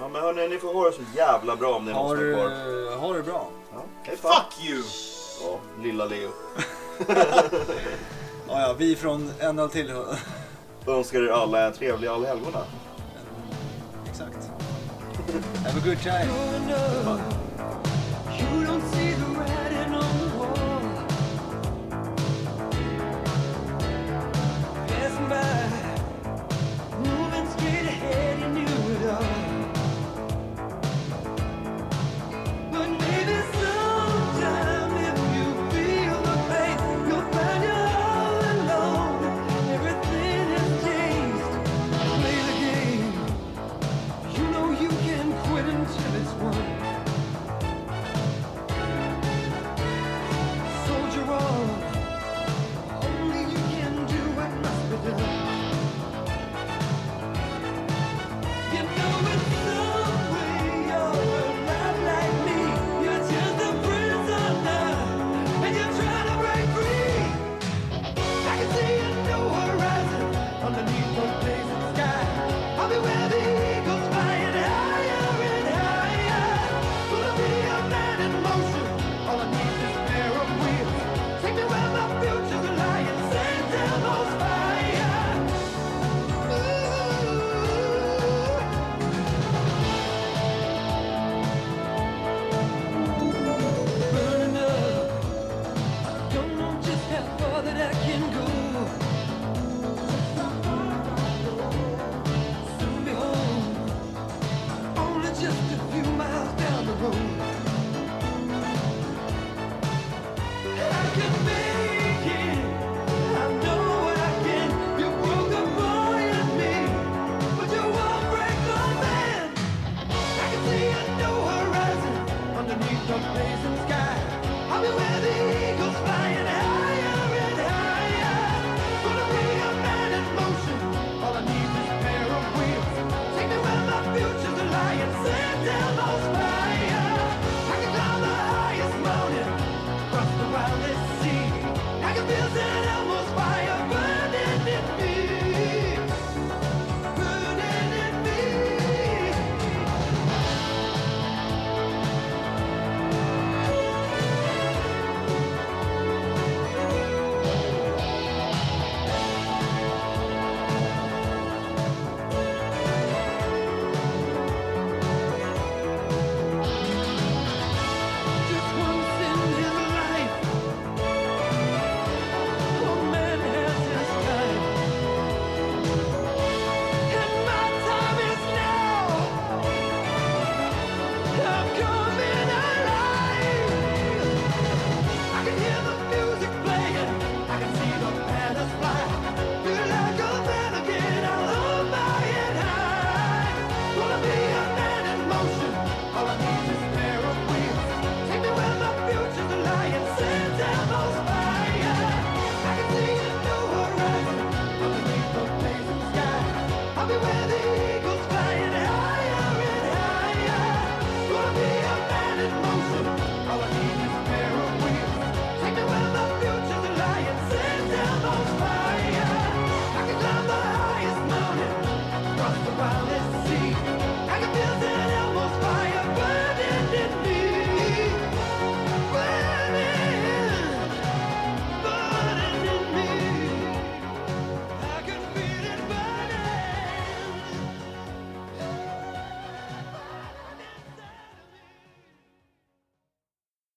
Ja, men hörni, ni får ha det så jävla bra om ni
Har,
måste vara kvar.
eh, har det bra.
Ja, hej fan.
Fuck you!
Ja, lilla Leo.
Ja, ja, vi från en öl till.
Önskar er alla en trevlig allhelgona.
Exakt. Have a good time.
You don't see the writing on the wall. Passing by, moving straight ahead, you knew it all. But maybe sometime if you feel the pain, you'll find you're all alone. Everything has changed. Play the game. You know you can quit until it's won. soldier on. Only you can do what must be done. You know it's some way you're not like me. You're just a prisoner, and you're trying to break free. I can see a new horizon underneath those blazing skies. I'll be where the eagles flying higher and higher. Gonna be a man in motion. All I need is a pair of wheels. Take me where my future's lying. Send down those fire. Ooh. burning up. I don't know just how far that I can go. Soon be home. Only just a few miles down the road. I can make it. I know I can. You broke a boy in me, but you won't break the man. I can see a new horizon underneath the blazing sky. I'll be where the eagles flying high.